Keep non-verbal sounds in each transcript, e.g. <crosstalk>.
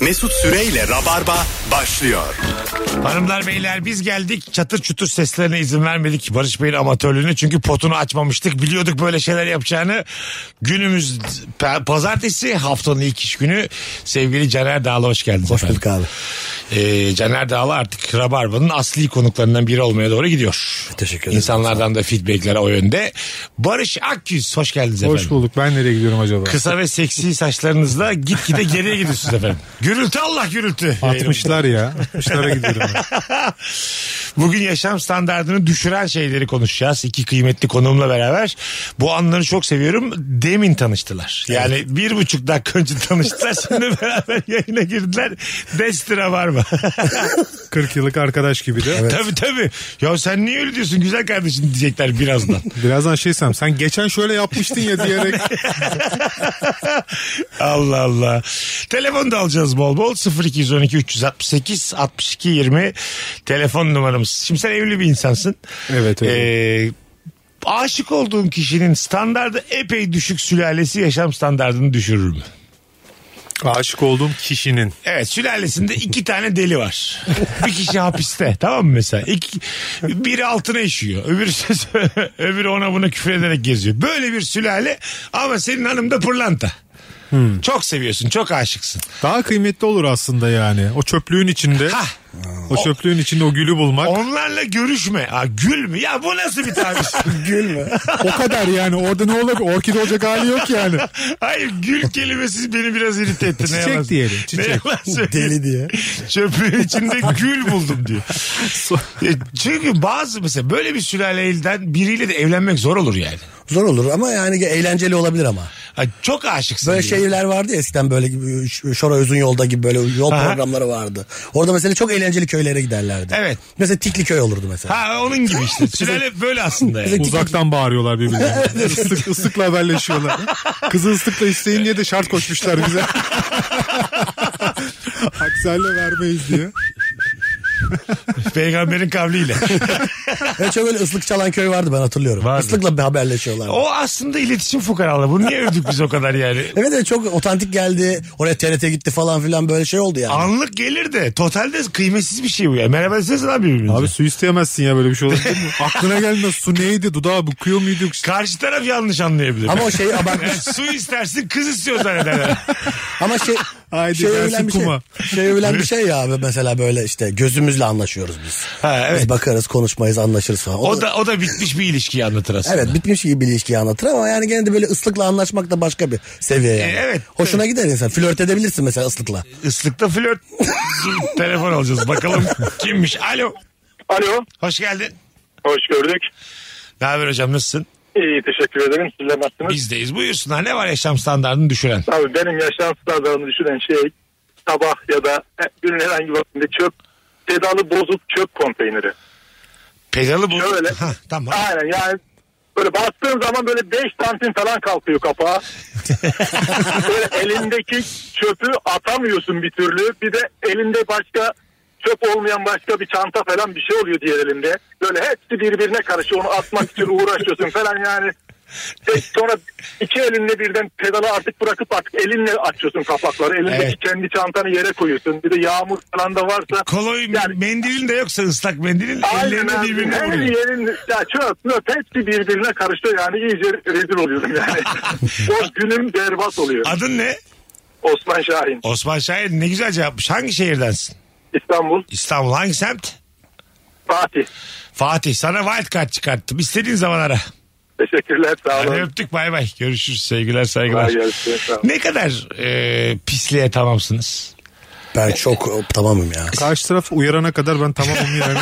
Mesut Süreyle Rabarba başlıyor. Hanımlar beyler biz geldik çatır çutur seslerine izin vermedik Barış Bey'in amatörlüğünü çünkü potunu açmamıştık biliyorduk böyle şeyler yapacağını günümüz pe- pazartesi haftanın ilk iş günü sevgili Caner Dağlı hoş geldiniz Hoş bulduk abi. Ee, Caner Dağlı artık Rabarba'nın asli konuklarından biri olmaya doğru gidiyor Teşekkür ederim. İnsanlardan da feedbackler o yönde Barış Akgüz hoş geldiniz efendim Hoş bulduk. Ben nereye gidiyorum acaba? Kısa ve seksi saçlarınızla gitgide geriye gidiyorsunuz efendim. Gürültü Allah gürültü. 60'lar <laughs> ya. 60'lara gidiyorum. ben. Bugün yaşam standartını düşüren şeyleri konuşacağız. İki kıymetli konuğumla beraber. Bu anları çok seviyorum. Demin tanıştılar. Yani bir buçuk dakika önce tanıştılar. Şimdi beraber yayına girdiler. Destira var mı? 40 yıllık arkadaş gibi <laughs> de. Tabii tabii. Ya sen niye öyle diyorsun güzel kardeşim diyecekler birazdan. Birazdan şey sen, sen geçen şöyle yapmıştın ya diyerek. Allah Allah. Telefon da alacağız bol bol. 0212 368 62 20 telefon numaramız. Şimdi sen evli bir insansın. Evet, öyle. Ee, aşık olduğun kişinin standardı epey düşük sülalesi yaşam standartını düşürür mü? <laughs> Aşık olduğum kişinin. Evet sülalesinde <laughs> iki tane deli var. Bir kişi hapiste tamam mı mesela? İki, biri altına işiyor. Öbürü, <laughs> öbürü ona buna küfür ederek geziyor. Böyle bir sülale ama senin hanım da pırlanta. Hmm. Çok seviyorsun çok aşıksın. Daha kıymetli olur aslında yani. O çöplüğün içinde. Hah. O çöplüğün içinde o gülü bulmak. O, Onlarla görüşme. Aa, gül mü? Ya bu nasıl bir tabir? <laughs> Gül mü? kadar yani. Orada ne olabilir? Orkide olacak hali yok <laughs> yani. <laughs> Hayır gül kelimesi beni biraz irite etti. Ne Çiçek yalan- diyelim, Ne çiçek. yalan söyleyeyim. <laughs> Deli diye. Çöpün <laughs> içinde gül buldum <laughs> diyor. E, Çünkü bazı mesela böyle bir sülaleden biriyle de evlenmek zor olur yani. Zor olur ama yani eğlenceli olabilir ama. Ha, çok aşıksın. Böyle şey- diyor. şeyler vardı ya eskiden böyle gibi ş- Şora Özün Yolda gibi böyle yol Aha. programları vardı. Orada mesela çok eğlenceli köylere giderlerdi. Evet. Mesela Tikli köy olurdu mesela. Ha onun gibi <laughs> işte. Sülale böyle aslında yani. Uzaktan bağırıyorlar <laughs> birbirlerine. Islık, ıslıkla haberleşiyorlar. Kızı ıslıkla isteyin diye de şart koşmuşlar <laughs> bize. Akselle vermeyiz diye. Peygamberin kavliyle. Ve <laughs> çok öyle ıslık çalan köy vardı ben hatırlıyorum. Vardı. Islıkla bir haberleşiyorlardı. o aslında iletişim fukaralığı. Bunu niye övdük biz o kadar yani? <laughs> Evet evet çok otantik geldi. Oraya TRT gitti falan filan böyle şey oldu yani. Anlık gelir de totalde kıymetsiz bir şey bu ya. Merhaba desene abi birbirinize. Abi su isteyemezsin ya böyle bir şey <laughs> olabilir mi? Aklına gelmez su neydi dudağı büküyor muydu? Karşı taraf yanlış anlayabilir. Ama <laughs> o şeyi abartmış. Yani su istersin kız istiyor zannederler. <laughs> Ama şey Haydi şey gelsin övülen bir şey. kuma. Şey övülen bir şey ya abi mesela böyle işte gözümüzle anlaşıyoruz biz. Ha, evet. Biz bakarız, konuşmayız, anlaşırız falan. O O da o da bitmiş bir ilişkiyi anlatır aslında. Evet bitmiş gibi bir ilişkiyi anlatır ama yani gene de böyle ıslıkla anlaşmak da başka bir seviye yani. E, evet. Hoşuna gider insan. Flört edebilirsin mesela ıslıkla. Islıkta flört. Dur, Telefon alacağız bakalım kimmiş. Alo. Alo, Hoş geldin. hoş gördük. Ne haber hocam nasılsın? İyi, teşekkür ederim. Sizler nasılsınız? Bizdeyiz. Buyursunlar ne var yaşam standartını düşüren? Abi benim yaşam standartını düşünen şey sabah ya da e, günün herhangi vaktinde çöp, pedalı bozuk çöp konteyneri. Pedalı bu. Şöyle. Ha, tamam. Aynen yani böyle bastığım zaman böyle 5 santim falan <laughs> kalkıyor kapağı. böyle elindeki çöpü atamıyorsun bir türlü. Bir de elinde başka çöp olmayan başka bir çanta falan bir şey oluyor diğer elinde. Böyle hepsi birbirine karışıyor. Onu atmak için uğraşıyorsun falan yani. Tek sonra iki elinle birden pedalı artık bırakıp artık elinle açıyorsun kapakları. Elindeki Evet. kendi çantanı yere koyuyorsun. Bir de yağmur falan da varsa. Koloy Yani- mendilin de yoksa ıslak mendilin Aynen ellerini abi. birbirine Her vuruyor. yerin ya çöp möp hepsi birbirine karıştı yani iyice rezil <laughs> oluyorum yani. o günüm berbat oluyor. Adın ne? Osman Şahin Osman Şair ne güzel cevapmış. Hangi şehirdensin? İstanbul İstanbul hangi semt? Fatih. Fatih sana wild card çıkarttım. İstediğin zaman ara. Teşekkürler sağ Hadi olun. öptük bay bay. Görüşürüz sevgiler saygılar. Kolay gelsin, sağ ol. Ne kadar e, pisliğe tamamsınız? Ben çok hop, tamamım ya. Karşı taraf uyarana kadar ben tamamım <laughs> yani.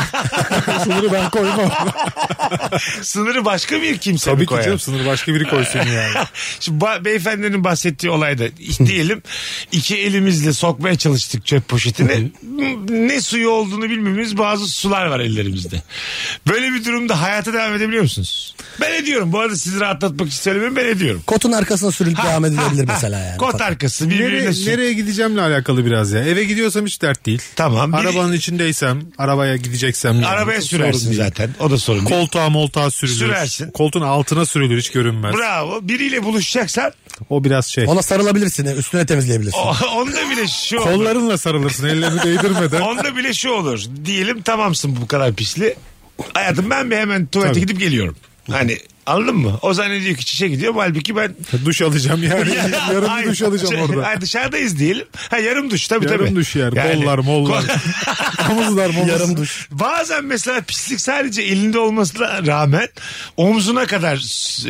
sınırı ben koymam. Sınırı başka bir kimse mi <laughs> Tabii ki koyar? canım sınırı başka biri koysun yani. <laughs> Şimdi ba- beyefendinin bahsettiği olayda diyelim iki elimizle sokmaya çalıştık çöp poşetini. ne suyu olduğunu bilmemiz bazı sular var ellerimizde. Böyle bir durumda hayata devam edebiliyor musunuz? Ben ediyorum. Bu arada sizi rahatlatmak için söylemiyorum ben ediyorum. Kotun arkasına sürülüp devam edilebilir Ha, mesela ha, yani. Kot arkası <laughs> birbirine Nereye, su. nereye gideceğimle alakalı biraz ya. Eve yere gidiyorsam hiç dert değil. Tamam. Biri- Arabanın içindeysem, arabaya gideceksem. yani. Arabaya Sorun sürersin değil. zaten. O da sorun değil. Koltuğa moltuğa sürülür. Sürersin. Koltuğun altına sürülür hiç görünmez. Bravo. Biriyle buluşacaksan O biraz şey. Ona sarılabilirsin. Üstüne temizleyebilirsin. o- <laughs> onda bile şu olur. Kollarınla sarılırsın ellerini değdirmeden. Onda bile şu olur. Diyelim tamamsın bu kadar pisli. Hayatım ben bir hemen tuvalete Tabii. gidip geliyorum. Hani anladın mı? O zannediyor ki çişe gidiyor. Halbuki <laughs> ben duş <laughs> alacağım yani. Ay, Yarın duş alacağım şey, orada. ay dışarıdayız diyelim. Ha yarım duş tabii tabii. Yarın duş yer. Yani- Bollar mollar. Omuzlar mollar. <laughs> Yarım duş. Bazen mesela pislik sadece elinde olmasına rağmen omzuna kadar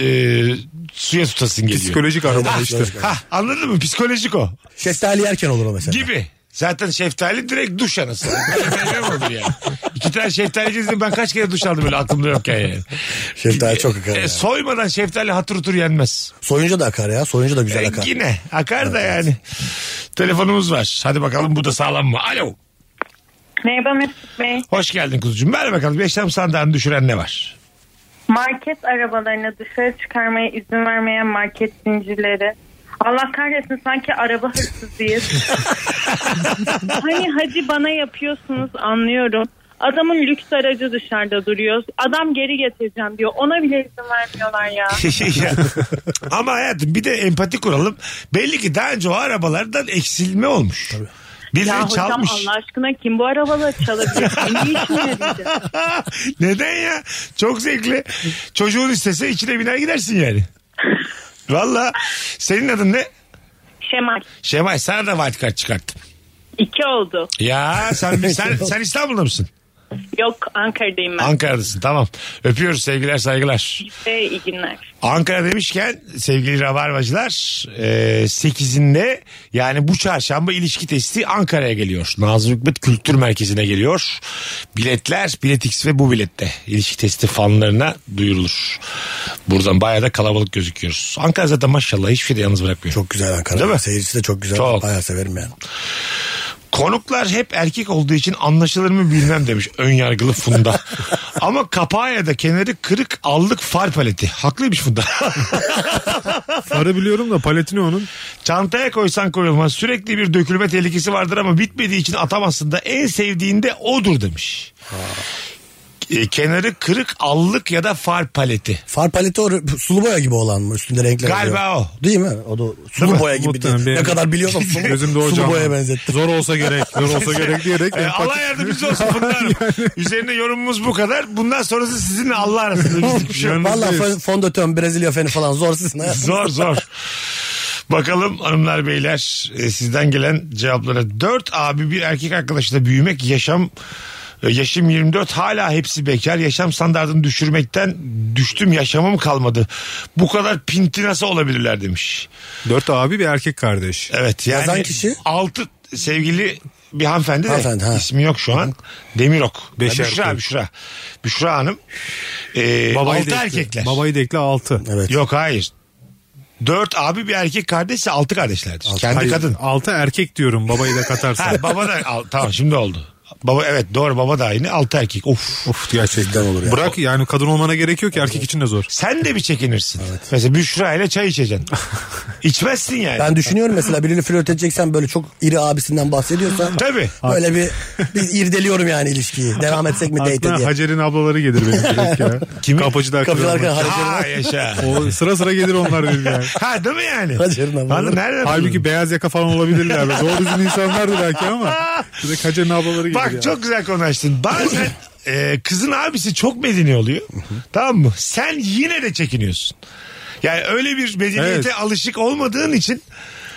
e, suya tutasın geliyor. Psikolojik araba işte. <laughs> Ha, anladın mı? Psikolojik o. Şeftali yerken olur o mesela. Gibi. Zaten şeftali direkt duş <laughs> anası. Böyle meyve olur yani. İki tane şeftali gezdim ben kaç kere duş aldım böyle aklımda yokken yani. Şeftali çok akar E, ya. Soymadan şeftali hatır hutur yenmez. Soyunca da akar ya. Soyunca da güzel E, akar. yine akar da yani. Telefonumuz var. Hadi bakalım bu da sağlam mı? Alo. Merhaba Mesut Bey. Hoş geldin kuzucuğum. Ver bakalım yaşam sandalını düşüren ne <laughs> var? Market arabalarını dışarı çıkarmaya izin vermeyen market zincirleri. Allah kahretsin sanki araba hırsızıyız. hani hadi bana yapıyorsunuz anlıyorum. Adamın lüks aracı dışarıda duruyor. Adam geri getireceğim diyor. Ona bile izin vermiyorlar ya. Şey, Ya, Ama hayatım bir de empati kuralım. Belli ki daha önce o arabalardan eksilme olmuş. Tabii. Birileri Ya hocam şey çalmış. Allah aşkına kim bu arabaları çalabilir? Beni hiç mi yarayacak? <laughs> Neden ya? Çok zevkli. Çocuğun istese içine biner gidersin yani. Valla senin adın ne? Şemal. Şevay sana da white card çıkarttım. iki oldu. Ya sen sen, sen İstanbul'da mısın? Yok Ankara'dayım ben. Ankara'dasın tamam. Öpüyoruz sevgiler saygılar. Ve iyi günler. Ankara demişken sevgili Rabarbacılar e, 8'inde yani bu çarşamba ilişki testi Ankara'ya geliyor. Nazım Hikmet Kültür Merkezi'ne geliyor. Biletler Biletix ve bu bilette ilişki testi fanlarına duyurulur. Buradan bayağı da kalabalık gözüküyoruz. Ankara zaten maşallah hiçbir şey de yalnız bırakmıyor. Çok güzel Ankara. Değil mi? Seyircisi de çok güzel. Çok. Bayağı severim yani. Konuklar hep erkek olduğu için anlaşılır mı bilmem demiş ön yargılı Funda. Ama kapağı ya da kenarı kırık allık far paleti. Haklıymış Funda. Farı biliyorum da paletini onun. Çantaya koysan koyulmaz. Sürekli bir dökülme tehlikesi vardır ama bitmediği için atamazsın da en sevdiğin de odur demiş. E, kenarı kırık allık ya da far paleti. Far paleti o sulu boya gibi olan mı? Üstünde renkler Galiba oluyor. o. Değil mi? O da mi? sulu boya gibi Muhtemelen değil. benim- Ne kadar biliyorsam sulu, <laughs> Gözümde o sulu canlı. boya benzettim. Zor olsa gerek. Zor <laughs> olsa gerek diyerek. E, empati- Allah yardımcısı olsun Funda Hanım. Üzerine yorumumuz bu kadar. Bundan sonrası sizinle Allah arasında bizlik bir şey yok. Valla fö- fondötön, Brezilya feni falan zor <laughs> sizin ha. Zor zor. Bakalım hanımlar beyler e, sizden gelen cevaplara. Dört abi bir erkek arkadaşla büyümek yaşam e, yaşım 24 hala hepsi bekar. Yaşam standartını düşürmekten düştüm yaşamım kalmadı. Bu kadar pinti nasıl olabilirler demiş. Dört abi bir erkek kardeş. E, Evet yani Yazan kişi? altı sevgili bir hanımefendi, Hanımefendi, de ha. ismi yok şu an. Demirok. Beşer Ha, Büşra, koy. Büşra. Büşra Hanım. E, altı da ekle. erkekler. Babayı da ekle altı. Evet. Yok hayır. Dört abi bir erkek kardeşse altı kardeşlerdir. Kendi Hayır, kadın. Altı erkek diyorum babayı da Ha, <laughs> katarsan. baba da al, tamam şimdi oldu. Baba evet doğru baba da aynı altı erkek. Of. of gerçekten olur ya. Bırak yani kadın olmana gerek yok ki erkek için de zor. Şey Sen de bir çekinirsin. Mesela Büşra ile çay <laughs> içeceksin. İçmezsin yani. Ben düşünüyorum mesela birini flört edeceksen böyle çok iri abisinden bahsediyorsa. Tabii. Böyle bir, bir irdeliyorum yani ilişkiyi. Devam etsek mi date Aklına diye. Hacer'in ablaları gelir benim direkt <laughs> ya. Kimi? Kapıcılar Kapıcılar Kralı. Kralı. Ha <laughs> yaşa. O sıra sıra gelir onlar benim yani. ha değil mi yani? Hacer'in ablaları. Vallahi nereden Halbuki buldun? beyaz yaka falan olabilirler. Böyle Doğru düzgün insanlardı belki ama. Direkt Hacer'in ablaları gelir Bak ya. çok güzel konu açtın. <laughs> Bazen e, kızın abisi çok medeni oluyor. tamam mı? Sen yine de çekiniyorsun. Yani öyle bir medeniyete Evet. alışık olmadığın için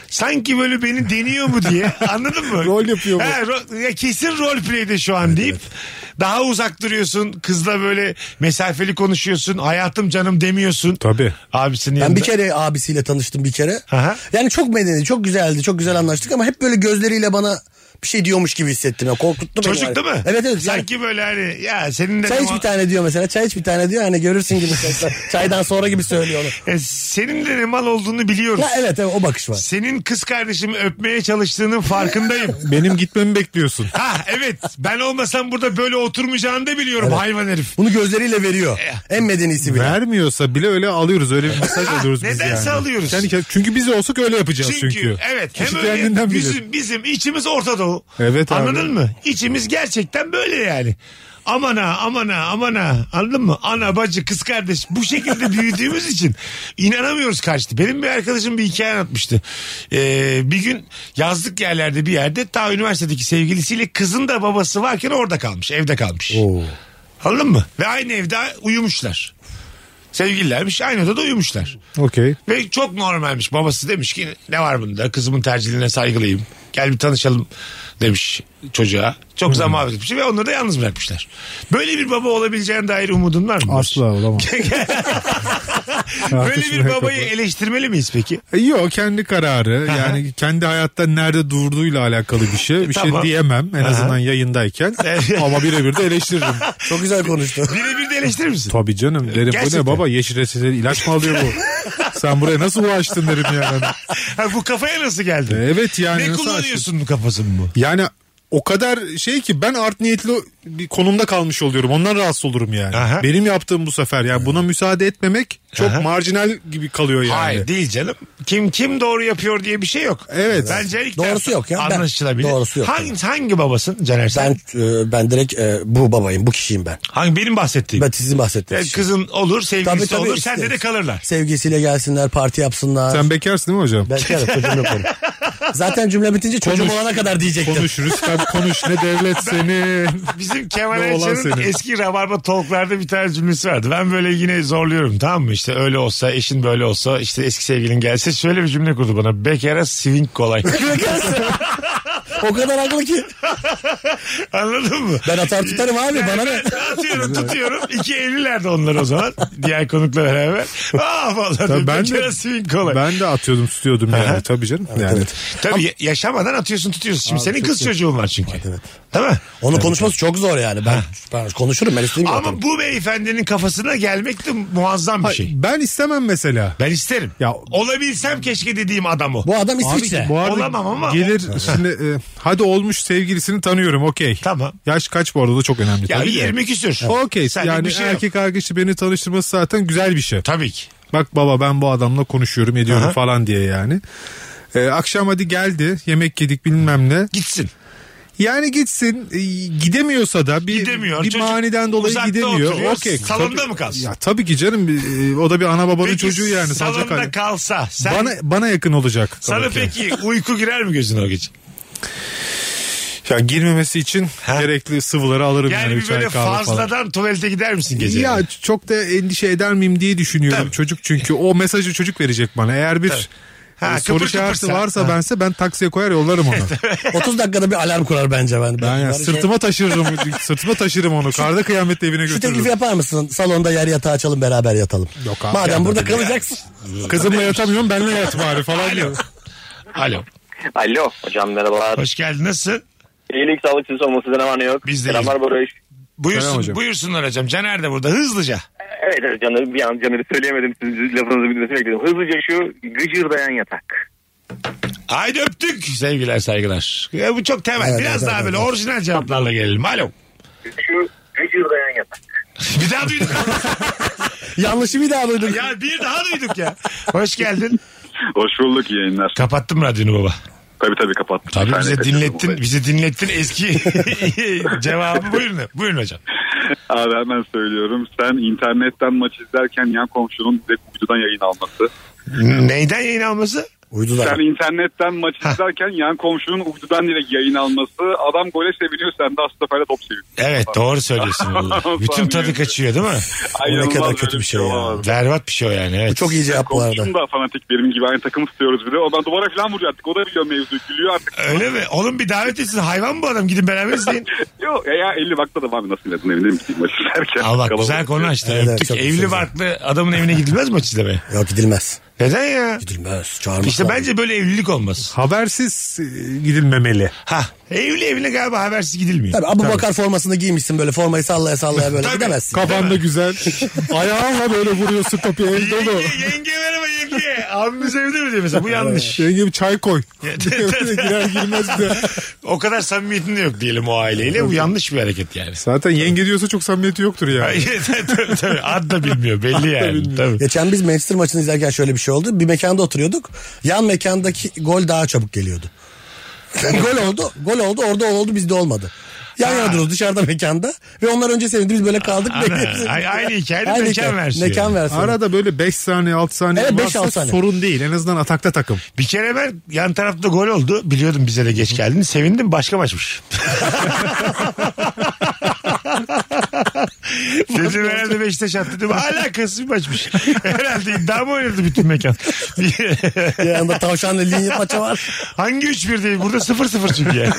sanki böyle beni deniyor mu <laughs> diye anladın mı? Rol yapıyor mu? He, ro- ya kesin rol play'de şu an deyip daha uzak duruyorsun. Kızla böyle mesafeli konuşuyorsun. Hayatım canım demiyorsun. Tabii. Abisinin Ben yanında. bir kere abisiyle tanıştım bir kere. Aha. Yani çok medeni, çok güzeldi, çok güzel anlaştık ama hep böyle gözleriyle bana bir şey diyormuş gibi hissettim. Ya. Korkuttu beni. Çocuk yani. değil mi? Evet evet. Yani, Sanki böyle hani ya senin de çay iç bir tane diyor mesela. Çay iç bir tane diyor. Hani <laughs> görürsün gibi. Çaydan sonra gibi söylüyor onu. E, senin de ne mal olduğunu biliyoruz. Ha, evet evet o bakış var. Senin kız kardeşimi öpmeye çalıştığının <laughs> farkındayım. Benim <laughs> gitmemi bekliyorsun. ha evet ben olmasam burada böyle oturmayacağını da biliyorum hayvan herif. Bunu gözleriyle veriyor. En medenisi bile. Vermiyorsa bile öyle alıyoruz. Öyle bir <laughs> mesaj alıyoruz biz yani. nedense alıyoruz. Kendi- çünkü biz olsak öyle yapacağız Çünkü, çünkü. evet Kişi hem öyle kendinden bilir. bizim, bizim içimiz Orta Doğu. bu. Evet abi. Anladın mı? İçimiz gerçekten böyle yani. Aman ha aman ha aman ha anladın mı? Ana bacı kız kardeş bu şekilde büyüdüğümüz için inanamıyoruz kaçtı. Benim bir arkadaşım bir hikaye anlatmıştı. Ee, bir gün yazlık yerlerde bir yerde ta üniversitedeki sevgilisiyle kızın da babası varken orada kalmış evde kalmış. Anladın mı? Ve aynı evde uyumuşlar. Sevgililermiş aynı odada uyumuşlar. Okey. Ve çok normalmiş. Babası demiş ki ne var bunda? Kızımın tercihine saygılıyım. Gel bir tanışalım demiş çocuğa. Hmm. Çok zaman etmiş ve onları da yalnız bırakmışlar. Böyle bir baba olabileceğine dair umudun var mı? <laughs> Asla olamam. Böyle bir babayı eleştirmeli miyiz peki? E, Yok kendi kararı yani kendi hayatta nerede durduğuyla alakalı bir şey. Bir Tamam. şey diyemem en azından yayındayken ama birebir de <laughs> eleştiririm. Çok güzel konuştu. Birebir de eleştirir misin? Tabii canım derim bu Gerçekten. ne baba yeşil reçeteli ilaç mı alıyor <laughs> bu? Sen buraya nasıl ulaştın derim yani. Hani, Ha, bu kafaya nasıl geldi? Evet yani ne nasıl açtın? kullanıyorsun bu kafasını bu? Yani o kadar şey ki ben art niyetli bir konumda kalmış oluyorum. Ondan rahatsız olurum yani. Aha. Benim yaptığım bu sefer yani buna müsaade etmemek çok marjinal gibi kalıyor yani. Hayır değil canım. Kim kim doğru yapıyor diye bir şey yok. Evet. Bence ilk Doğrusu tarafta yok ya. Ben- Anlaşılabilir. Doğrusu yok. Hangi, hangi babasın Caner sen? <laughs> Ben e, ben direkt e, bu babayım, bu kişiyim ben. Hangi, benim bahsettiğim. Ben sizin bahsettiğiniz E, Yani kişi. kızın olur, sevgilisi Tabii, tabii, olur, işte. sende de kalırlar. Sevgisiyle gelsinler, parti yapsınlar. Sen bekarsın değil mi hocam? Ben şey yarın çocuğum yok <laughs> benim. Zaten cümle bitince çocuğum olana kadar diyecektim. <laughs> Konuş Rüstem konuş ne devlet seni. Bizim Kemal Ne olan Ayça'nın senin? eski Rabarba Talk'larda bir tane cümlesi vardı. Ben böyle yine zorluyorum tamam mı? İşte öyle olsa, eşin böyle olsa, işte eski sevgilin gelse şöyle bir cümle kurdu bana. Bekara swing kolay. <laughs> o kadar haklı ki. <laughs> Anladın mı? Ben atar tutarım abi Yani bana ne? ben Atıyorum tutuyorum. İki evlilerdi onlar o zaman. Diğer konukla beraber. Aa vallahi Tabii ben de- bekara swing kolay. Ben de atıyordum tutuyordum yani tabii canım. Yani. Tabii ya- yaşamadan atıyorsun tutuyorsun. Şimdi senin kız çocuğun var çünkü. evet. Değil mi? Onu konuşması çok zor yani. Ben, ben konuşurum ben istediğim gibi Ama yaparım. bu beyefendinin kafasına gelmek de muazzam bir şey. Ben istemem mesela. Ben isterim. Ya- Olabilsem keşke dediğim adam o. Bu adam İsviçre. Bu arada Olamam ama- Gelir şimdi e, hadi olmuş sevgilisini tanıyorum okey. Tamam. Yaş kaç bu arada da çok önemli ya tabii de. 20 küsür. Okey Senlik yani bir şey yok. erkek arkadaşı beni tanıştırması zaten güzel bir şey. Tabii ki. Bak baba ben bu adamla konuşuyorum ediyorum Aha. falan diye yani. E, akşam hadi geldi yemek yedik bilmem ne. Gitsin. Yani gitsin e, gidemiyorsa da bir, Gidemiyor. bir Çocuk maniden dolayı uzakta oturuyor, gidemiyor. Okey. salonda Tabii- mı kalsın? Ya tabii ki canım bir- e, o da bir ana babanın Peki çocuğu yani. Salonda Salacak hali- kalsa. Sen, Bana, bana yakın olacak. sana tabii ki. peki uyku girer mi gözüne o gece? Ya girmemesi için Ha? gerekli sıvıları alırım yani. Yani, bir çay, böyle kahve fazladan tuvalete gider misin gece? Ya çok da endişe eder miyim diye düşünüyorum Tabii. çocuk çünkü o mesajı çocuk verecek bana. Eğer bir Ha, e, kıpır soru kıpır işareti sen. varsa Ha. bense ben taksiye koyar <laughs> yollarım onu. 30 dakikada bir alarm kurar bence ben. ben yani Bunları şey- sırtıma taşırırım sırtıma taşırırım onu. Karda kıyamette evine Şu teklifi götürürüm. yapar mısın? Salonda yer yatağı açalım beraber yatalım. Yok abi, Madem yapmadım burada kalacaksın. Kızımla yatamıyorum benle yat bari falan diyor. Alo. Alo hocam merhabalar. Hoş geldin. Nasılsın? İyilik sağlık siz olmasından hemen yok. Biz deyiz. Selamlar Barış. Buyursun, Selam hocam. buyursunlar hocam. Caner de burada. Hızlıca. Evet evet canım bir an Caner'i söyleyemedim. Sizin lafınızı bilmesini bekledim. Hızlıca şu gıcırdayan yatak. Haydi öptük. Sevgiler saygılar. Ya bu çok temel. Evet, Biraz evet, daha evet, böyle orijinal cevaplarla gelelim. Alo. Şu gıcırdayan yatak. Bir daha duyduk. Yanlışı bir daha duydum. ya bir daha duyduk ya. Hoş geldin. Hoş bulduk iyi yayınlar. Kapattım radyonu baba. Tabii tabii kapattım. Bir Tabii tane bize kaçırdım dinlettin, olayı. bize dinlettin eski <laughs> cevabı. Buyurun, buyurun hocam. Abi hemen söylüyorum. Sen internetten maç izlerken yan komşunun direkt uydudan yayın alması. Neyden yayın alması? Uydular. Sen internetten maç izlerken yan komşunun uydudan direkt yayın alması. Adam gole seviniyor sen de Astafer'le top seviyorsun. Evet doğru söylüyorsun. <laughs> vallahi. Bütün tadı kaçıyor değil mi? Ay, ne inanılmaz kadar böyle kötü bir şey ya. olamaz. Berbat bir şey o yani. Evet. Bu çok iyi cevap bu arada. Komşum da fanatik benim gibi aynı takım tutuyoruz bir de. O ben duvara falan vuruyor artık. O da biliyor mevzu. Gülüyor artık. Öyle mi? Oğlum bir davet etsin. Hayvan mı bu adam? Gidin beraber <laughs> izleyin. Yok ya, ya 50 bakladım abi nasıl inadın eminim ki maç izlerken. Allah Kalabalık. güzel konu açtı. Evet, Öptük. çok Evli güzel. barklı adamın evine gidilmez maç izlemeye. Yok gidilmez. Neden ya? Gidilmez. Çağırmışlar. İşte bence böyle evlilik olmaz. Habersiz e, gidilmemeli. Ha, evli evine galiba habersiz gidilmiyor. Tabii Abu Bakar formasını giymişsin böyle formayı sallaya sallaya böyle gidemezsin. Kafanda <laughs> güzel. Ayağınla böyle vuruyorsun topu el dolu. Yenge, yenge merhaba yenge. Abimiz evde mi diyor mesela? <laughs> Bu yanlış. Şey gibi çay <laughs> koy. <laughs> Girer girmez de. O kadar samimiyetin de yok diyelim o aileyle. Bu yanlış bir hareket yani. <laughs> Zaten yenge diyorsa çok samimiyeti yoktur yani. tabii, tabii, tabii. Ad da bilmiyor belli yani. Tabii. Geçen biz Manchester maçını izlerken şöyle bir şey oldu. Bir mekanda oturuyorduk. Yan mekandaki gol daha çabuk geliyordu. gol oldu. Gol oldu. Orada o oldu bizde olmadı. Yan yana duruyoruz dışarıda mekanda. Ve onlar önce sevindi biz böyle kaldık. Ana, bekliyoruz. ay- aynı hikaye de mekan versiyonu. Mekan versiyonu. Arada böyle 5 saniye 6 saniye Evet, beş, varsa altı saniye. sorun değil. En azından atakta takım. Bir kere ben yan tarafta gol oldu. Biliyordum bize de geç geldiğini. Sevindim başka <laughs> maçmış. Dedim herhalde Beşiktaş attı. <laughs> Dedim alakasız bir maçmış. Herhalde iddia mı oynadı bütün mekan? <laughs> Yanında tavşanla linye maça var. Hangi 3-1 değil? Burada 0-0 çünkü yani.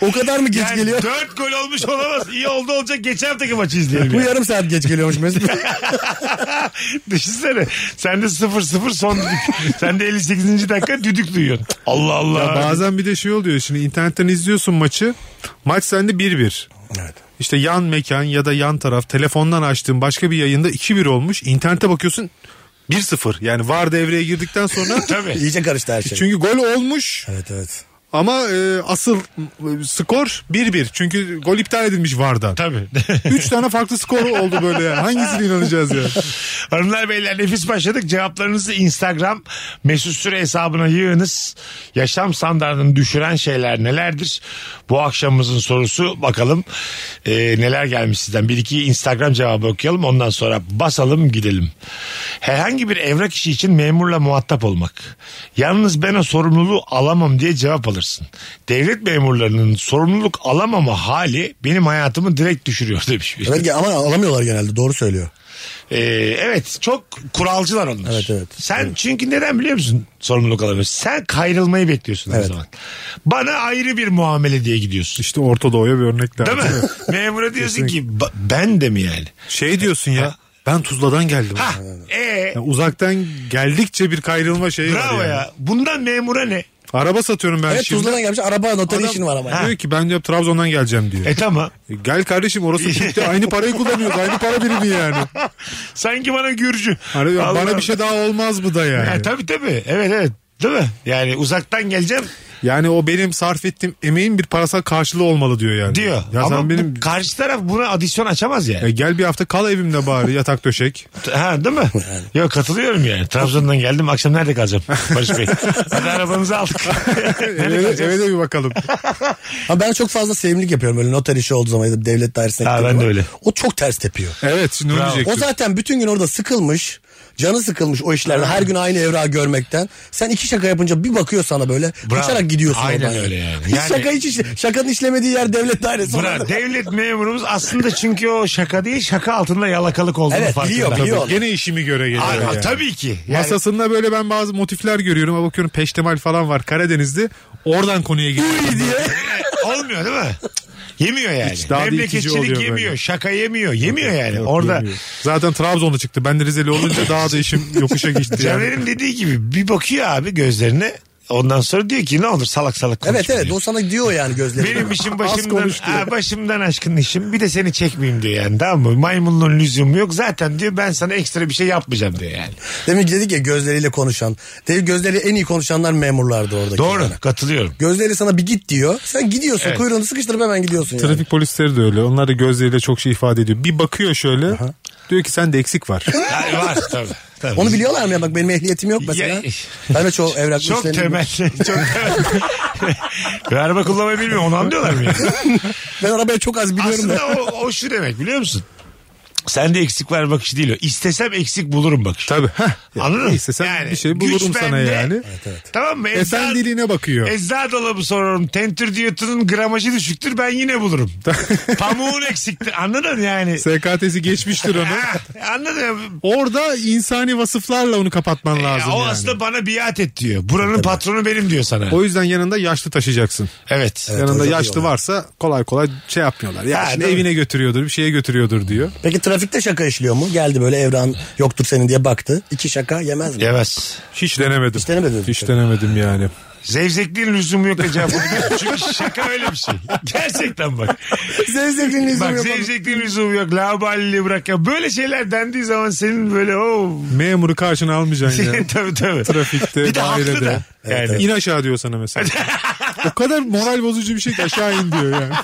O kadar mı <laughs> geç yani geliyor? 4 gol olmuş olamaz. İyi oldu olacak. Geçen haftaki maçı izleyelim. Bu yani. yarım saat geç <laughs> geliyormuş Mesut. Düşünsene. Sen de 0-0 son düdük. Sen de 58. dakika düdük duyuyorsun. Allah Allah. Ya bazen bir de şey oluyor şimdi internetten izliyorsun maçı. Maç sende 1-1. Evet. İşte yan mekan ya da yan taraf telefondan açtığın başka bir yayında 2-1 olmuş. İnternete bakıyorsun 1-0. Yani var devreye girdikten sonra <laughs> Tabii. İyice karıştı her şey. çünkü gol olmuş Evet evet. ama e, asıl e, skor 1-1. Çünkü gol iptal edilmiş vardan. Tabii. 3 tane farklı skor oldu böyle yani. Hangisine inanacağız ya? <laughs> Hanımlar beyler nefis başladık. Cevaplarınızı Instagram mesut süre hesabına yığınız. Yaşam standartını düşüren şeyler nelerdir? Bu akşamımızın sorusu bakalım e, neler gelmiş sizden. Bir iki Instagram cevabı okuyalım ondan sonra basalım gidelim. Herhangi bir evrak işi için memurla muhatap olmak. Yalnız ben o sorumluluğu alamam diye cevap alırsın. Devlet memurlarının sorumluluk alamama hali benim hayatımı direkt düşürüyor <laughs> demiş. bir. Evet, ama alamıyorlar genelde doğru söylüyor. Ee, evet çok kuralcılar onlar. Evet, evet. Sen çünkü neden biliyor musun sorumluluk alamıyorsun? Sen kayrılmayı bekliyorsun her Evet. zaman. Bana ayrı bir muamele diye gidiyorsun. İşte Orta Doğu'ya bir örnek lazım. Değil mi? <laughs> Memura diyorsun ki "Ba- ben de mi yani? Şey diyorsun ya ben Tuzla'dan geldim. Ha, ee, Yani uzaktan geldikçe bir kayrılma şeyi bravo var yani. ya. Bundan memura ne? Araba satıyorum ben Evet şimdi. Tuzla'dan gelmiş araba noteri Adam işin var ama. Diyor ki ben diyor Trabzon'dan geleceğim diyor. E <laughs> tamam. E, Gel kardeşim orası Türk'te aynı parayı kullanıyoruz. Aynı para birimi yani. Sanki bana Gürcü. Hani diyor, Allah- bana bir şey daha olmaz mı da yani. Ha, tabii tabii. Evet evet. Değil mi? Yani uzaktan geleceğim Yani o benim sarf ettiğim emeğin bir parasal karşılığı olmalı diyor yani. diyor. Ya sen Ama bu benim karşı taraf buna adisyon açamaz yani. E, gel bir hafta kal evimde bari <laughs> yatak döşek. Ha değil mi? Yok katılıyorum yani. Trabzon'dan geldim. Akşam nerede kalacağım? Barış <laughs> Bey. Hadi arabanızı aldık. nerede eve, kalacağız? eve de bir bakalım. Ama ben çok fazla sevimlilik yapıyorum öyle noter işi olduğu zaman ya da devlet dairesine Ha, gittiğim ben de zaman. öyle. O çok ters tepiyor. Evet şimdi onu O diyecektim. zaten bütün gün orada sıkılmış. Canı sıkılmış o işlerden. Her gün aynı evrağı görmekten. Sen iki şaka yapınca bir bakıyor sana böyle. Bravo. Kaçarak gidiyorsun Aynen oradan. öyle yani. Hiç Yani- <laughs> şaka hiç işle- şakanın işlemediği yer devlet dairesi. Bra, orada. devlet memurumuz aslında çünkü o şaka değil şaka altında yalakalık olduğunu Evet, farkında. biliyor, biliyor. zaten- Gene işimi göre geliyor Ay, yani. Tabii ki. Yani, Masasında böyle ben bazı motifler görüyorum. Ama bakıyorum peştemal falan var Karadeniz'de. Oradan konuya geliyor. <laughs> olmuyor değil mi? Yemiyor yani. Hiç daha da itici Memleketçilik oluyor yemiyor. böyle. Şaka yemiyor. Yemiyor yani. Yok, Orada <laughs> yemiyor. Zaten Trabzon'da çıktı. Ben de Rizeli olunca daha da işim <laughs> yokuşa gitti. yani. Caner'in dediği gibi bir bakıyor abi gözlerine. Ondan sonra diyor ki ne olur salak salak konuşma Evet evet diyor. o sana diyor yani <laughs> gözleri. Benim işim başımdan, konuş diyor. ha, başımdan aşkın işim. Bir de seni çekmeyeyim diyor yani tamam mı? Maymunluğun lüzumu yok. Zaten diyor ben sana ekstra bir şey yapmayacağım diyor yani. Demin dedik ya gözleriyle konuşan. Demin gözleri en iyi konuşanlar memurlardı orada. Doğru katılıyorum. Gözleri sana bir git diyor. Sen gidiyorsun Evet. kuyruğunu sıkıştırıp hemen gidiyorsun yani. Trafik polisleri de öyle. Onlar da gözleriyle çok şey ifade ediyor. Bir bakıyor şöyle. Diyor ki sende <laughs> eksik var. Ha, <laughs> var tabii. tabii. Onu biliyorlar mı ya? Bak benim ehliyetim yok Ya- mesela. ben de çoğu evrak Çok işlerini- temel. <laughs> Çok <laughs> temel. Ve araba kullanmayı bilmiyor. Onu anlıyorlar mı yani? Ben arabaya çok az biliyorum da. Aslında o, o şu demek biliyor musun? Sende eksik var bakışı değil o. İstesem eksik bulurum bakışı. Tabii. Heh. Anladın mı? Neyse sen Yani bir şey güç bulurum sana bende. yani. Tamam mı? E sen Eczan- diline bakıyor. Eczar dolabı sorarım. Tentür diyotunun gramajı düşüktür ben yine <laughs> bulurum. Pamuğun eksiktir. Anladın yani? SKT'si <laughs> geçmiştir onu. Ha, anladın mı? Orada insani vasıflarla onu kapatman lazım Ya, E, o yani. aslında bana biat et diyor. Buranın patronu benim diyor sana. O yüzden yanında yaşlı E, taşıyacaksın. Evet. yanında hocam yaşlı diyorlar. varsa kolay kolay şey yapmıyorlar. Ya Ha, şimdi değil mi? evine götürüyordur, bir şeye götürüyordur diyor. Peki trafikte şaka işliyor mu? Geldi böyle evran yoktur senin diye baktı. İki şaka yemez mi? Yemez. Hiç denemedim. Hiç denemedim. Hiç denemedim yani. Zevzekliğin lüzumu yok acaba. Çünkü şaka öyle bir şey. Gerçekten bak. Zevzekliğin lüzumu Bak yok. zevzekliğin lüzumu yok. Laballi bırak ya. Böyle şeyler dendiği zaman senin böyle o Memuru <laughs> karşına almayacaksın ya. tabii tabii. <laughs> Trafikte, bir de haklı dairede. da. Yani. İn aşağı diyor sana mesela. o kadar moral bozucu bir şey ki aşağı in <laughs> diyor yani.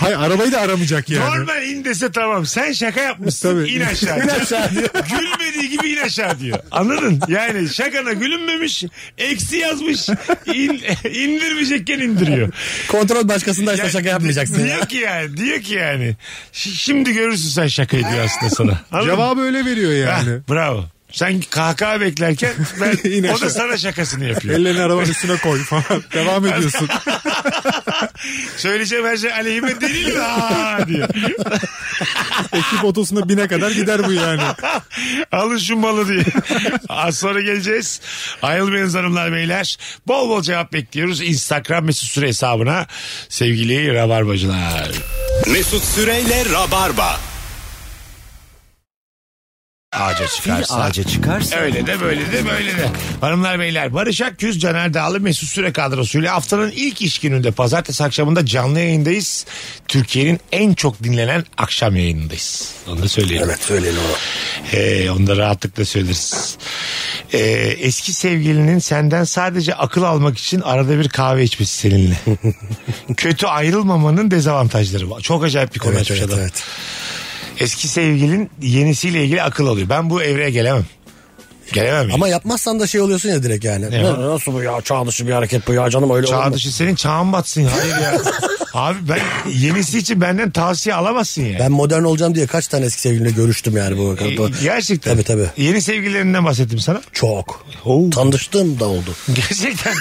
Hayır arabayı da aramayacak yani. Normal in dese tamam. Sen şaka yapmışsın. Tabii. İn <laughs> aşağı. İn aşağı diyor. <laughs> Gülmediği gibi in aşağı diyor. Anladın? Yani şakana gülünmemiş. Eksi yazmış. İn, <laughs> indirmeyecekken <laughs> indiriyor. Kontrol başkasındaysa Ya, şaka yapmayacaksın. Diyor ki yani. Diyor ki yani. "Şi- Şimdi görürsün sen şakayı diyor aslında sana. <laughs> Anladın? Cevabı öyle veriyor <laughs> yani. Heh, bravo. Sen kahkaha beklerken ben, <laughs> İn o da aşağı. sana şakasını yapıyor. Ellerini arabanın üstüne koy falan. Devam ediyorsun. Söyleyeceğim her şey aleyhime değil <laughs> mi? Aa diyor. Ekip otosuna bine kadar gider bu yani. <laughs> Alın şu malı diye. Az sonra geleceğiz. Ayrılmayınız hanımlar beyler. Bol bol cevap bekliyoruz. Instagram mesut süre hesabına sevgili rabarbacılar. Mesut Süreyle Rabarba. Ağaca çıkarsa. ağaca çıkarsa. Öyle de böyle de böyle de. Hanımlar beyler Barış Akgüz, Caner Dağlı, Mesut Süre kadrosuyla haftanın ilk iş gününde pazartesi akşamında canlı yayındayız. Türkiye'nin en çok dinlenen akşam yayınındayız. Onu da söyleyelim. Evet söyleyelim onu. He, onu da rahatlıkla söyleriz. Ee, eski sevgilinin senden sadece akıl almak için arada bir kahve içmesi <laughs> seninle. Kötü ayrılmamanın dezavantajları var. Çok acayip bir şey konu Evet, açmış evet, adam. evet. Eski sevgilin yenisiyle ilgili akıl alıyor. Ben bu evreye gelemem. Gelemem. yani. Ama yapmazsan da şey oluyorsun ya direkt yani. Ne "Na- Nasıl bu ya çağ dışı bir hareket bu ya canım öyle Çağ olmaz." dışı senin çağın batsın. ya. Hayır ya. Abi ben yenisi için benden tavsiye alamazsın yani. Ben modern olacağım diye kaç tane eski sevgilimle görüştüm yani bu. bu- Ee, Gerçekten. Tabii tabii. Yeni sevgililerinden bahsettim <laughs> sana. Çok. Oo. Tanıştığım da oldu. Gerçekten.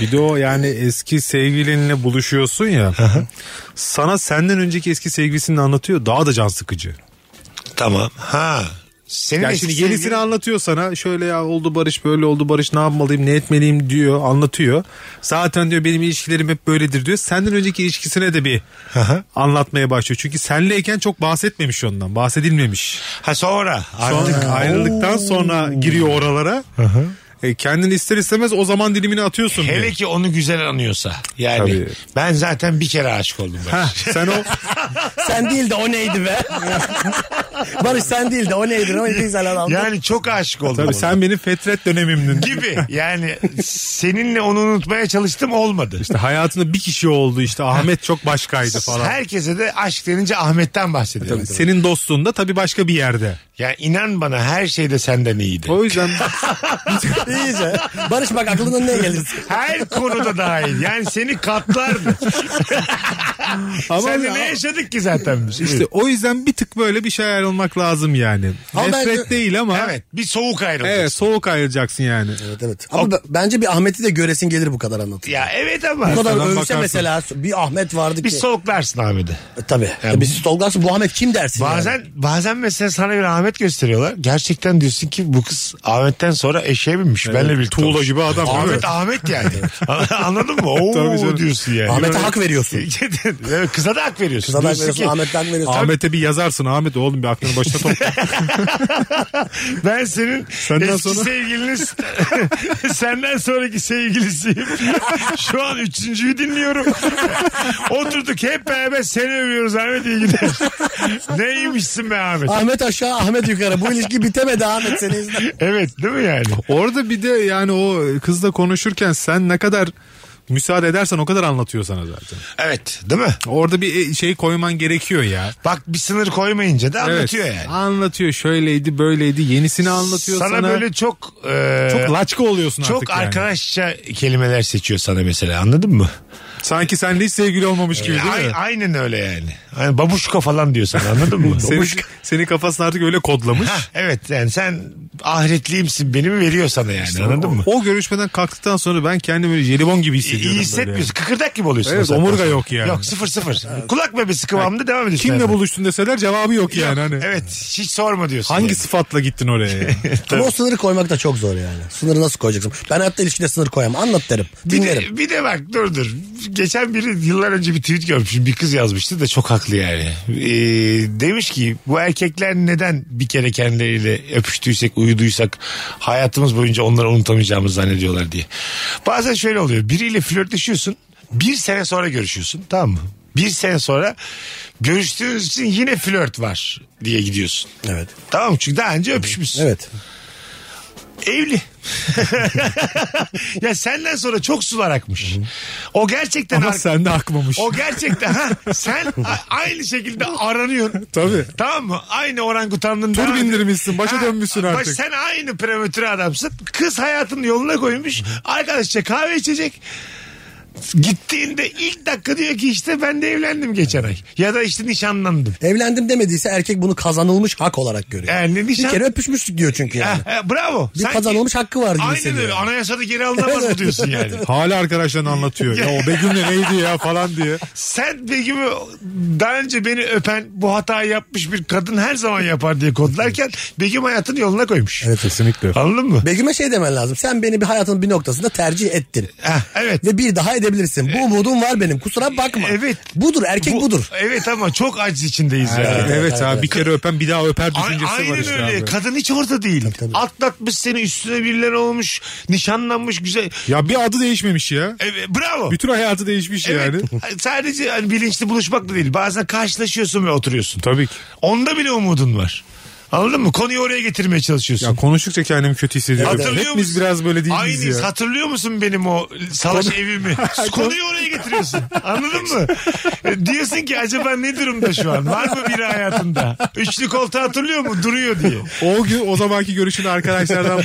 Bir de o yani eski sevgilinle buluşuyorsun ya. sana senden önceki eski sevgilisini anlatıyor. Daha da can sıkıcı. tamam. Ha. Senin Yani eski şimdi yenisini sevgilin- anlatıyor sana. Şöyle ya oldu Barış böyle oldu Barış ne yapmalıyım ne etmeliyim diyor anlatıyor. Zaten diyor benim ilişkilerim hep böyledir diyor. Senden önceki ilişkisine de bir hı. anlatmaya başlıyor. Çünkü senleyken çok bahsetmemiş ondan bahsedilmemiş. Ha sonra. Sonra Artık ayrıldıktan sonra giriyor oralara. E, kendini ister istemez o zaman dilimini atıyorsun. Hele <laughs> diyor. ki onu güzel anıyorsa. Yani Tabii. ben zaten bir kere aşık oldum. Ben. Heh, sen o sen değil de o <laughs> neydi be? Barış sen değil de o neydi? O neydi sen adam? Yani çok aşık oldum. ona. tabii sen benim fetret dönemimdin. gibi yani seninle onu unutmaya çalıştım olmadı. İşte hayatında bir kişi oldu işte Ahmet çok başkaydı falan. Herkese de aşk denince Ahmet'ten bahsediyorum. Tabii, Senin dostun da tabii başka bir yerde. Yani inan bana her şeyde senden iyiydi. <laughs> O yüzden İyice. Barış bak aklına ne gelir? Her konuda daha iyi. Yani seni <laughs> katlardı. Ama Seninle ya- ne yaşadık ki zaten biz? İşte o yüzden bir tık böyle bir şey ayrılmak lazım yani. Ama Nefret bence- değil ama. Evet bir soğuk ayrıldık. Evet, soğuk ayrılacaksın yani. <laughs> Evet evet. Ama b- bence bir Ahmet'i de göresin gelir bu kadar anlatı. Ya evet ama Bu kadar Arkadan övse bakarsın. mesela bir Ahmet vardı ki. bir soğuklarsın Ahmet'i. E, Tabii. E, biz Stolgars'ı bu Ahmet kim dersin? Bazen yani? bazen mesela sana bir Ahmet gösteriyorlar. Gerçekten diyorsun ki bu kız Ahmet'ten sonra eşeğe binmiş. Benle birlikte Tuğla olmuş. gibi adam. Ahmet Evet. Ahmet yani. <laughs> Anladın mı? Oo canım. diyorsun yani. Ahmet'e hak veriyorsun. <laughs> Evet, Kıza da hak veriyorsun. Kıza da hak Diyorsun veriyorsun, ki, Ahmet'ten veriyorsun. Ahmet'e bir yazarsın Ahmet oğlum bir aklını <laughs> başına topla. Ben senin Senden eski sonra- sevgiliniz <laughs> senden sonraki sevgilisiyim. <laughs> Şu an üçüncüyü dinliyorum. <laughs> Oturduk hep beraber seni övüyoruz Ahmet iyi gider. <laughs> Neymişsin be Ahmet? Ahmet aşağı Ahmet yukarı. Bu ilişki bitemedi Ahmet seni <laughs> izler. Evet değil mi yani? Orada bir de yani o kızla konuşurken sen ne kadar müsaade edersen o kadar anlatıyor sana zaten. Evet değil mi? Orada bir e- şey koyman gerekiyor ya. Bak bir sınır koymayınca da anlatıyor Evet, yani. Anlatıyor şöyleydi böyleydi yenisini anlatıyor sana. Sana, böyle çok e, çok laçka oluyorsun çok artık yani. arkadaşça kelimeler seçiyor sana mesela anladın mı? Sanki seninle hiç sevgili olmamış gibi değil mi? E, Ay- aynen öyle yani. Hani babuşka falan diyor sana anladın mı? Senin, Babuşka. senin kafasını artık öyle kodlamış. Evet yani sen ahretliyimsin beni mi veriyor sana yani anladın mı? O görüşmeden kalktıktan sonra ben kendimi böyle jelibon gibi hissediyorum. İyi böyle hissetmiyorsun. Kıkırdak gibi oluyorsun. Evet, o saatten omurga sonra. yok yani. Yok sıfır sıfır. Kulak bebesi kıvamında devam ediyorsun. yani. Kimle herhalde. buluştun deseler cevabı yok yani. Hani. Evet hiç sorma diyorsun. Hangi yani. sıfatla gittin <laughs> oraya? yani? Ama o sınırı koymak da çok zor yani. Sınırı nasıl koyacaksın? Ben hayatta ilişkide sınır koyamam. Anlat derim. Bir Dinlerim. de, bir de bak dur dur. Geçen biri yıllar önce bir tweet görmüşüm. Bir kız yazmıştı da çok haklı yani. Ee, demiş ki bu erkekler neden bir kere kendileriyle öpüştüysek, uyuduysak hayatımız boyunca onları unutamayacağımızı zannediyorlar diye. Bazen şöyle oluyor. Biriyle flörtleşiyorsun. Bir sene sonra görüşüyorsun tamam mı? Bir sene sonra görüştüğünüz için yine flört var diye gidiyorsun. Evet. Tamam mı? Çünkü daha önce öpüşmüşsün. Evet. Evli. <laughs> ya senden sonra çok sular akmış. O gerçekten Ama ar- sende akmamış. o gerçekten ha, sen a- aynı şekilde aranıyorsun. Tabii. Tamam mı? Aynı orangutanlığın. Tur devam- bindirmişsin, başa Ha, dönmüşsün baş- artık. sen aynı prematüre adamsın. Kız hayatını yoluna koymuş. Arkadaşça kahve içecek. Gittiğinde ilk dakika diyor ki işte ben de evlendim geçen ay. Ya da işte nişanlandım. Evlendim demediyse erkek bunu kazanılmış hak olarak görüyor. Yani nişan... Bir kere öpüşmüştük diyor çünkü yani. Ha, ha, bravo. Bir kazanılmış hakkı var gibi E, Aynen hissediyor. öyle. Anayasada geri <laughs> alınamaz mı diyorsun yani? Hala arkadaşlarına anlatıyor. Ya o Begüm de neydi ya <laughs> falan diye. Sen Begüm'ü daha önce beni öpen bu hatayı yapmış bir kadın her zaman yapar diye kodlarken Begüm hayatını yoluna koymuş. Evet kesinlikle. Anladın mı? Begüm'e şey demen lazım. Sen beni bir hayatın bir noktasında tercih ettin. Heh, Ah, evet. Ve bir daha edebilirsin. Bu umudum var benim. Kusura bakma. Evet. Budur erkek Bu- budur. Evet ama çok aciz içindeyiz ya. Evet, abi bir kere öpen bir daha öper A- düşüncesi Aynen var işte öyle. abi. Kadın hiç orada değil. Atlatmış seni üstüne birileri olmuş. Nişanlanmış güzel. Ya bir adı değişmemiş ya. Evet, bravo. Bütün hayatı değişmiş yani. <laughs> Evet. Sadece hani bilinçli buluşmak da değil. Bazen karşılaşıyorsun ve oturuyorsun. Tabii ki. Onda bile umudun var. Anladın mı? Konuyu oraya getirmeye çalışıyorsun. Ya konuştukça kendimi kötü hissediyorum. Hatırlıyor Hepimiz musun? biraz böyle değil miyiz Aynıyız. ya? Hatırlıyor musun benim o savaş <laughs> evimi? Konuyu oraya getiriyorsun. Anladın mı? E, Diyorsun ki acaba ne durumda şu an? Var mı biri hayatında? Üçlü koltuğu hatırlıyor mu? Duruyor diye. O gün o zamanki görüşünü arkadaşlardan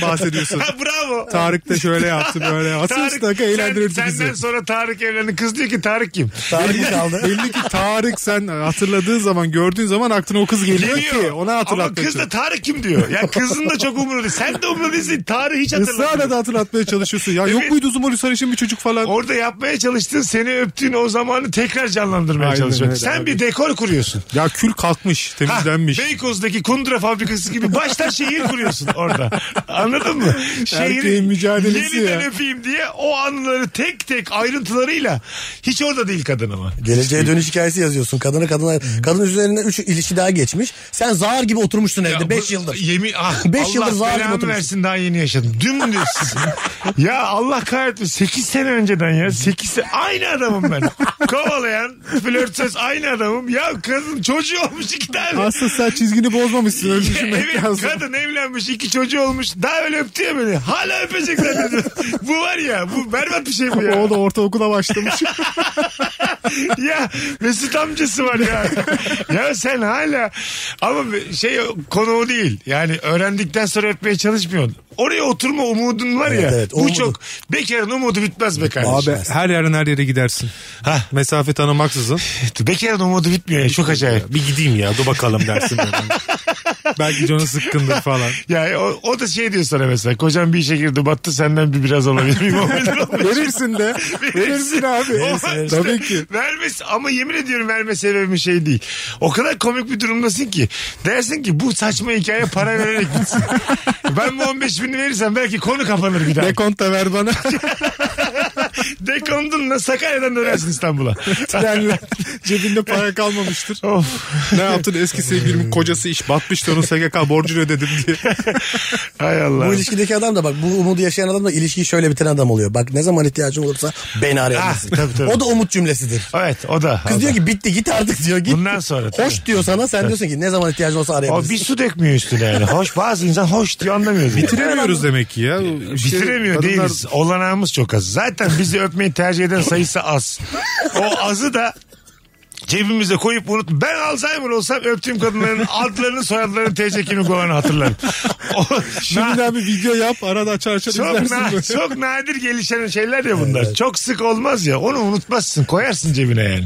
<laughs> bahsediyorsun. Ha bravo. Tarık da şöyle yaptı böyle. Aslında Tarık, dakika eğlendirirdi sen- bizi. Senden sonra Tarık evlendi. Kız diyor ki Tarık kim? Tarih kaldı. Belli ki Tarık sen hatırladığın zaman gördüğün zaman aklına o kız geliyor, ki ona Ama hatırlatmaya kız da çalışıyorsun. Tarık kim diyor. Ya kızın da çok umurunda değil. Sen de umurunda değilsin. Tarık hiç hatırlamıyor. Israrla da hatırlatmaya çalışıyorsun. Ya yok Evet. muydu Zumur Sarışın bir çocuk falan? Orada yapmaya çalıştığın seni öptüğün o zamanı tekrar canlandırmaya Aynen çalışıyorsun. öyle Sen abi. bir dekor kuruyorsun. Ya kül kalkmış, Ha, temizlenmiş. Beykoz'daki kundura fabrikası gibi baştan şehir kuruyorsun orada. Anladın mı? Şehri Erkeğin mücadelesi yeniden ya. öpeyim diye o anıları tek tek ayrıntılarıyla hiç orada değil kadın ama. Geleceğe dönüş hikayesi yazıyorsun. Kadına kadına kadın üzerine 3 ilişki daha geçmiş. Sen zar gibi oturmuşsun Ya evde 5 bu- yıldır. Yemin, ah, <laughs> Beş Allah yıldır zalim belamı oturmuş. versin daha yeni yaşadım. Dümdüz. <laughs> ya Allah kahretmesin. 8 sene önceden ya. 8 sene. Aynı adamım ben. Kovalayan flört söz aynı adamım. Ya kadın çocuğu olmuş iki tane. Aslında sen çizgini bozmamışsın öyle düşünmek <laughs> evet lazım. kadın evlenmiş iki çocuğu olmuş daha öyle öptü ya beni hala öpecek zaten bu var ya bu berbat bir şey bu ya O da ortaokula başlamış. ya Mesut amcası var ya ya sen hala ama şey konu o değil yani öğrendikten sonra öpmeye çalışmıyorsun oraya oturma umudun var ya Evet, evet, bu umudu. çok bekarın umudu bitmez be kardeşim Abi Şey, her yerden her yere gidersin. Hah. Mesafe tanımaksızın. bekarın umudu bitmiyor ya çok acayip bir gideyim ya dur <laughs> bakalım dersin. Belki canı sıkkındır falan. yani o, o da şey diyor sana mesela kocam bir işe girdi battı senden bir biraz alabilir miyim? O kadar olmuş. Verirsin de. Verirsin abi. O işte Tabii ki. Vermesi, ama yemin ediyorum verme sebebim şey değil. O kadar komik bir durumdasın ki. Dersin ki bu saçma hikaye para vererek bitsin. ben bu 15 bini verirsem belki konu kapanır bir daha. Dekont da ver bana. Dekondunla Sakarya'dan dönersin İstanbul'a. Trenle. <laughs> Cebinde para kalmamıştır. of. ne yaptın eski sevgilimin kocası iş batmıştı onun SGK borcunu ödedim diye. Hay Allah. Bu ilişkideki adam da bak bu umudu yaşayan adam da ilişkiyi şöyle biten adam oluyor. Bak ne zaman ihtiyacın olursa beni arayabilirsin. Ah, tabii, tabii. O da umut cümlesidir. Evet o da. Kız o da. diyor ki bitti git artık diyor git. Bundan sonra tabii. Hoş diyor sana sen diyorsun ki ne zaman ihtiyacın olsa O bir arayabilirsin. su dökmüyor üstüne yani. Hoş bazı insan hoş diyor anlamıyoruz. yani. Bitiremiyoruz demek ki ya. İşte Bitiremiyor şey- kadınlar- değiliz. Olanağımız çok az. Zaten bizi öpmeyi tercih eden sayısı az. O azı da cebimize koyup unut. Ben Alzheimer olsam öptüğüm kadınların adlarını soyadlarını TC kimlik olanı hatırlarım. O, na- Şimdiden bir video yap arada açar açar çok, izlersin. na- böyle. çok nadir gelişen şeyler ya bunlar. Çok sık olmaz ya. Onu unutmazsın. Koyarsın cebine yani.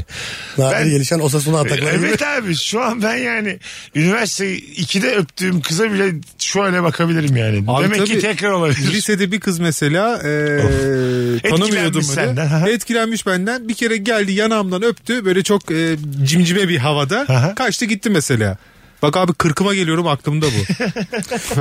Nadir Ben- gelişen Osasuna E, atakları gibi. Evet abi şu an ben yani üniversite 2'de öptüğüm kıza bile şöyle bakabilirim yani. Abi Demek ki tabii, tekrar olabilir. Lisede bir kız mesela e, tanımıyordum Etkilenmiş öyle. senden, aha. Etkilenmiş benden. Bir kere geldi yanağımdan öptü. Böyle çok e, cimcime bir havada. Aha. Kaçtı gitti mesela. Bak abi kırkıma geliyorum <laughs> aklımda bu.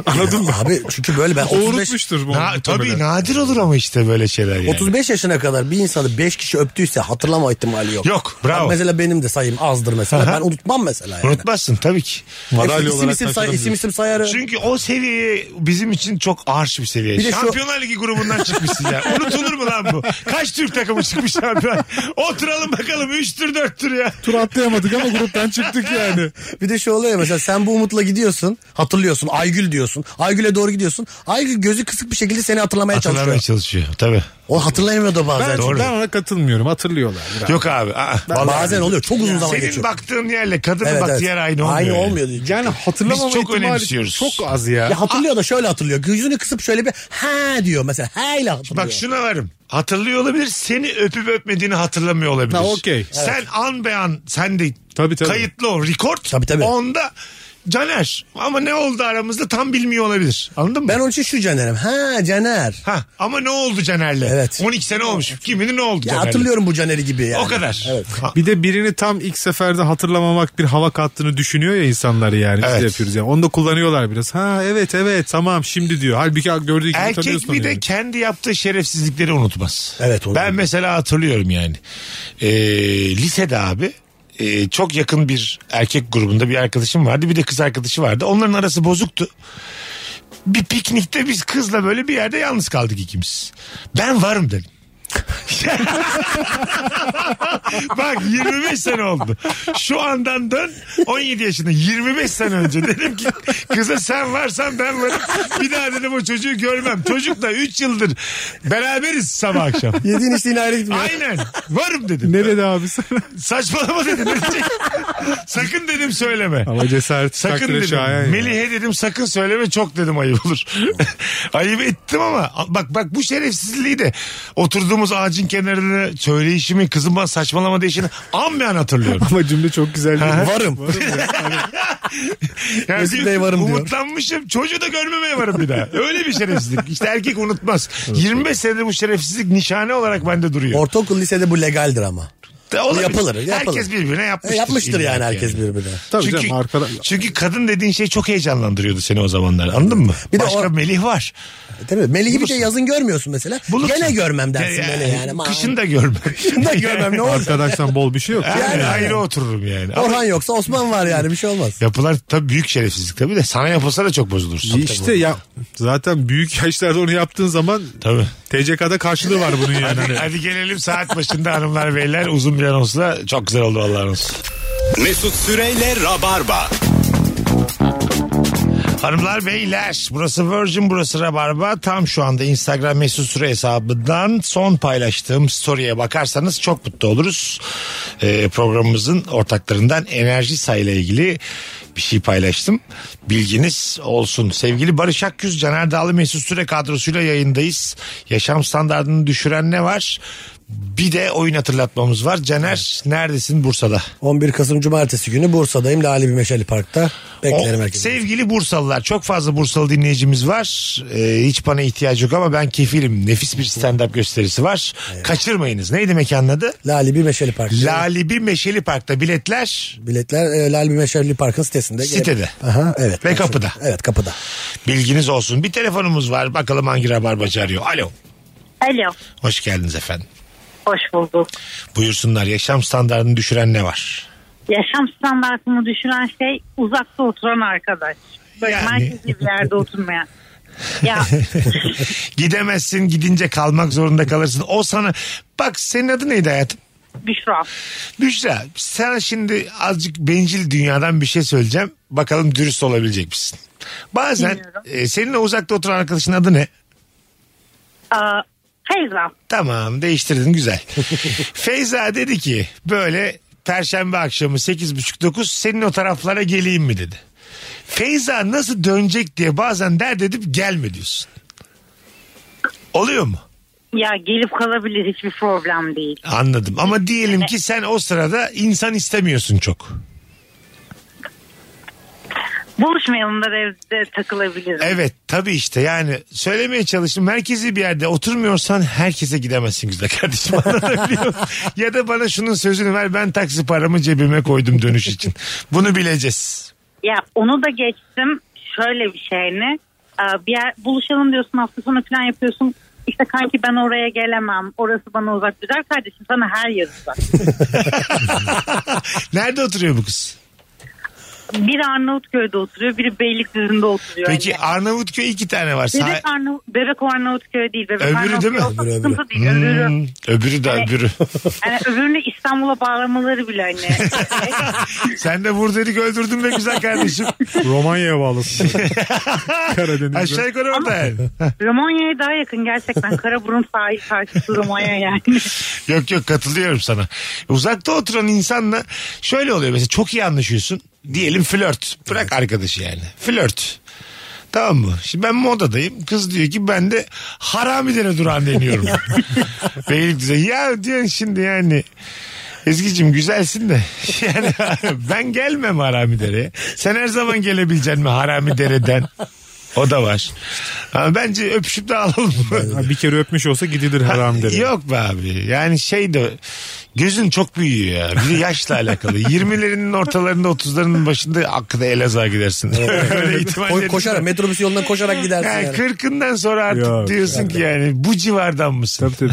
Anladın mı? Abi çünkü böyle ben O 35, unutmuştur bu. Na- muhtemelen. tabii nadir olur ama işte böyle şeyler yani. 35 yaşına kadar bir insanı 5 kişi öptüyse hatırlama ihtimali yok. Yok, bravo. Ben mesela benim de sayım azdır mesela. Ben unutmam mesela <laughs> yani. Unutmazsın tabii ki. Madalya Hepsi isim olarak isim, say, taşınabilir. isim isim sayarı. <laughs> Çünkü o seviye bizim için çok arş bir seviye. Bir de şu- Şampiyonlar Ligi grubundan çıkmışsın ya. Unutulur mu lan bu? Kaç Türk takımı çıkmış şampiyon? Oturalım bakalım 3 tür 4 tür ya. Tur atlayamadık ama gruptan çıktık yani. Bir de şu oluyor mesela sen bu umutla gidiyorsun. Hatırlıyorsun. Aygül diyorsun. Aygül'e doğru gidiyorsun. Aygül gözü kısık bir şekilde seni hatırlamaya Hatırlamaya çalışıyor. çalışıyor. Tabii. O hatırlayamıyor da bazen. Ben, Doğru. ben ona katılmıyorum. Hatırlıyorlar. biraz. Yok abi. aa. Vallahi bazen oluyor. Çok uzun zaman Senin geçiyor. baktığın yerle kadının baktığı yer aynı olmuyor. Aynı yani. olmuyor. diyor. Yani hatırlamama Biz çok ihtimali önemsiyoruz. çok az ya. Ya hatırlıyor da şöyle hatırlıyor. Gözünü kısıp şöyle bir ha diyor mesela. Ha ile hatırlıyor. Bak şuna varım. Hatırlıyor olabilir. Seni öpüp öpmediğini hatırlamıyor olabilir. Ha, okey. Sen an be an sen de Tabii, tabii. kayıtlı o record. Tabii, tabii. Onda Caner ama ne oldu aramızda tam bilmiyor olabilir. Anladın mı? Ben onun için şu Caner'im. Ha Caner. Ha, ama ne oldu Caner'le? Evet. 12 sene olmuş. Kim bilir ne oldu Ya Caner'le? hatırlıyorum bu Caner'i gibi yani. O kadar. Evet. Ha, Bir de birini tam ilk seferde hatırlamamak bir hava kattığını düşünüyor ya insanlar yani. Biz Evet. de yapıyoruz yani. Onu da kullanıyorlar biraz. Ha evet evet tamam şimdi diyor. Halbuki gördüğü gibi Erkek tanıyorsun bir onu de yani. kendi yaptığı şerefsizlikleri unutmaz. Evet, unutmaz. Ben mesela hatırlıyorum yani. Ee, lisede abi e, çok yakın bir erkek grubunda bir arkadaşım vardı. Bir de kız arkadaşı vardı. Onların arası bozuktu. Bir piknikte biz kızla böyle bir yerde yalnız kaldık ikimiz. Ben varım dedim. <laughs> Bak 25 sene oldu. Şu andan dön 17 yaşında 25 sene önce dedim ki kıza sen varsan ben varım. Bir daha dedim o çocuğu görmem. Çocukla 3 yıldır beraberiz sabah akşam. Yediğin içtiğin ayrı gitmiyor. Aynen varım dedim. Ne dedi abi sana? Saçmalama dedim. <laughs> Ne diyecek? sakın dedim söyleme. Ama cesaret Sakın takdire dedim. şayan. ya. Melih'e dedim sakın söyleme çok dedim ayıp <laughs> olur. ayıp ettim ama bak bak bu şerefsizliği de oturduğumuz ağacın kenarında söyleyişimi kızım bana saçmalama değişini an be an <laughs> hatırlıyorum. <laughs> Ama cümle çok güzel değil mi? Varım. Yani Mesut bir Bey varım diyor. umutlanmışım çocuğu da görmemeye varım bir daha. Öyle bir şerefsizlik. İşte erkek unutmaz. 25 senedir bu şerefsizlik nişane olarak bende duruyor. Ortaokul lisede bu legaldir ama. E, Olabilir. yapılır, yapılır. Herkes birbirine E, yapmıştır. yapmıştır İlla yani ki herkes birbirine. Tabii çünkü, canım arkada. çünkü kadın dediğin şey çok heyecanlandırıyordu seni o zamanlar anladın mı? Bir de Başka o- Melih var. Değil mi? E, Melih gibi de yazın görmüyorsun mesela. Bulursun. Gene görmem dersin Ya- böyle yani. Ma- Kışın da görmem. <laughs> Kışın da görmem ne olur. Arkadaştan bol bir şey yok. <laughs> Yani, Yani. ayrı otururum yani. Ama Orhan yoksa Osman var yani bir şey olmaz. yapılar tabii büyük şerefsizlik tabii de sana yapılsa da çok bozulursun. İşte ya zaten büyük yaşlarda onu yaptığın zaman Tabii. TCK'da karşılığı var bunun yani. Hani Hadi, hadi gelelim saat başında hanımlar beyler uzun bir anonsla çok güzel oldu vallahi anons. Mesut Süreyle Rabarba. Hanımlar beyler burası Virgin burası Rabarba tam şu anda Instagram mesut süre hesabından son paylaştığım story'e bakarsanız çok mutlu oluruz. Ee, programımızın ortaklarından enerji sayıyla ilgili bir şey paylaştım. Bilginiz olsun. Sevgili Barış Akgüz, Caner Dağlı Mesut Süre kadrosuyla yayındayız. Yaşam standartını düşüren ne var? Bir de oyun hatırlatmamız var. Caner neredesin Bursa'da? 11 Kasım Cumartesi günü Bursa'dayım. Lale Bir Meşeli Park'ta. Beklerim O- herkesi. Oh, Sevgili Bursalılar çok fazla Bursalı dinleyicimiz var. Ee, hiç bana ihtiyacı yok ama ben kefilim. Nefis bir stand-up gösterisi var. Kaçırmayınız. Neydi mekanın adı? Lale Bir Meşeli Park. Lalibi Meşeli Park'ta biletler Biletler e, Lale Bir Meşeli Park'ın sitesinde. Sitede. Aha, evet. Ve Karşı- kapıda. Evet kapıda. bilginiz olsun. Bir telefonumuz var. Bakalım hangi rabarbacı arıyor. Alo. Alo. Hoş geldiniz efendim. Hoş bulduk. Buyursunlar. Yaşam standartını düşüren ne var? Yaşam standartını düşüren şey uzakta oturan arkadaş. Böyle Yani. merkez gibi bir <laughs> yerde oturmayan. Ya Gidemezsin. Gidince kalmak zorunda kalırsın. O sana... Bak senin adı neydi hayatım? Büşra. Büşra sana şimdi azıcık bencil dünyadan bir şey söyleyeceğim. Bakalım dürüst olabilecek misin? Bazen Dinliyorum. e, seninle uzakta oturan arkadaşın adı ne? Aa, Feyza. Tamam değiştirdin güzel. Feyza dedi ki böyle perşembe akşamı 8.30-9 senin o taraflara geleyim mi dedi. Feyza nasıl dönecek diye bazen dert edip gelme diyorsun. Oluyor mu? Ya gelip kalabilir hiçbir problem değil. Anladım ama diyelim ki sen o sırada insan istemiyorsun çok. Buluşmayalım da evde takılabilirim. Evet tabii işte yani söylemeye çalıştım. Merkezi bir yerde oturmuyorsan herkese gidemezsin güzel kardeşim <laughs> anlatabiliyor muyum? Ya da bana şunun sözünü ver ben taksi paramı cebime koydum dönüş için. Bunu bileceğiz. <laughs> Ya onu da geçtim. Şöyle bir şey ne? Aa, Bir yer, buluşalım diyorsun hafta sonu falan yapıyorsun. İşte kanki ben oraya gelemem. Orası bana uzak. Güzel kardeşim <laughs> sana her yer uzak. Nerede oturuyor bu kız? biri Arnavutköy'de oturuyor, biri Beylikdüzü'nde oturuyor. Peki Yani. Arnavutköy iki tane var. Sah- Bebek, Arnav Bebek o Arnavutköy değil. Bebek Öbürü değil mi? Arnavutköy olsa Öbürü, öbürü. sıkıntı değil. Öbürü. Hmm, öbürü de öbürü. <laughs> Yani öbürünü İstanbul'a bağlamaları bile hani. Sen de Burdelik öldürdün be güzel kardeşim. Romanya'ya <laughs> bağlısın. Karadeniz'de. Aşağı yukarı orada yani. Romanya'ya daha yakın gerçekten. Karaburun sahil karşısı Romanya yani. Yok yok katılıyorum sana. Uzakta oturan insanla şöyle oluyor mesela çok iyi anlaşıyorsun. Diyelim flört. Bırak arkadaşı yani. Flört. Tamam mı? Şimdi ben modadayım. Kız diyor ki ben de haramilere durağan deniyorum. Beylikdüzü. Ya diyor şimdi yani Ezgi'cim güzelsin de <laughs> yani ben gelmem haramidereye. Sen her zaman gelebileceksin mi haramidereden? O da var. Ama bence öpüşüp de alalım. Ha, Bir kere öpmüş olsa gidilir haram derim. Yok be abi. Yani şey de gözün çok büyüyor ya. Bir de <laughs> yaşla alakalı. 20'lerinin ortalarında 30'larının başında hakkında Elazığ'a gidersin. Öyle Ko- ihtimalleri- koşarak metrobüs yolundan koşarak gidersin Yani yani. 40'ından sonra artık Yok, diyorsun ki yani bu civardan mısın? Tabii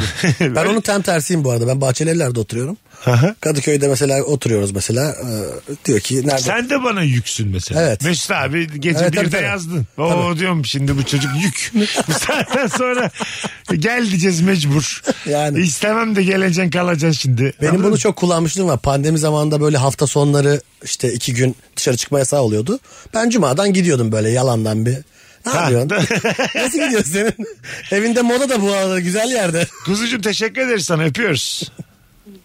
<laughs> tabii. Ben onun tam tersiyim bu arada. Ben Bahçelievler'de oturuyorum. Aha. Kadıköy'de mesela oturuyoruz mesela. Ee, diyor ki nerede? Sen de bana yüksün mesela. Evet. Mesut abi gece Evet, tabii, birde tabii. yazdın. Oo diyorum şimdi bu çocuk <laughs> yük. bu saatten sonra gel diyeceğiz mecbur. Yani. İstemem de geleceksin kalacaksın şimdi. Benim Anladın mı? bunu çok kullanmışlığım var. Pandemi zamanında böyle hafta sonları işte iki gün dışarı çıkma yasağı oluyordu. Ben cumadan gidiyordum böyle yalandan bir. Ne Ha. <laughs> yapıyorsun? Nasıl gidiyorsun senin? Evinde moda da bu arada güzel yerde. Kuzucuğum teşekkür ederiz sana öpüyoruz.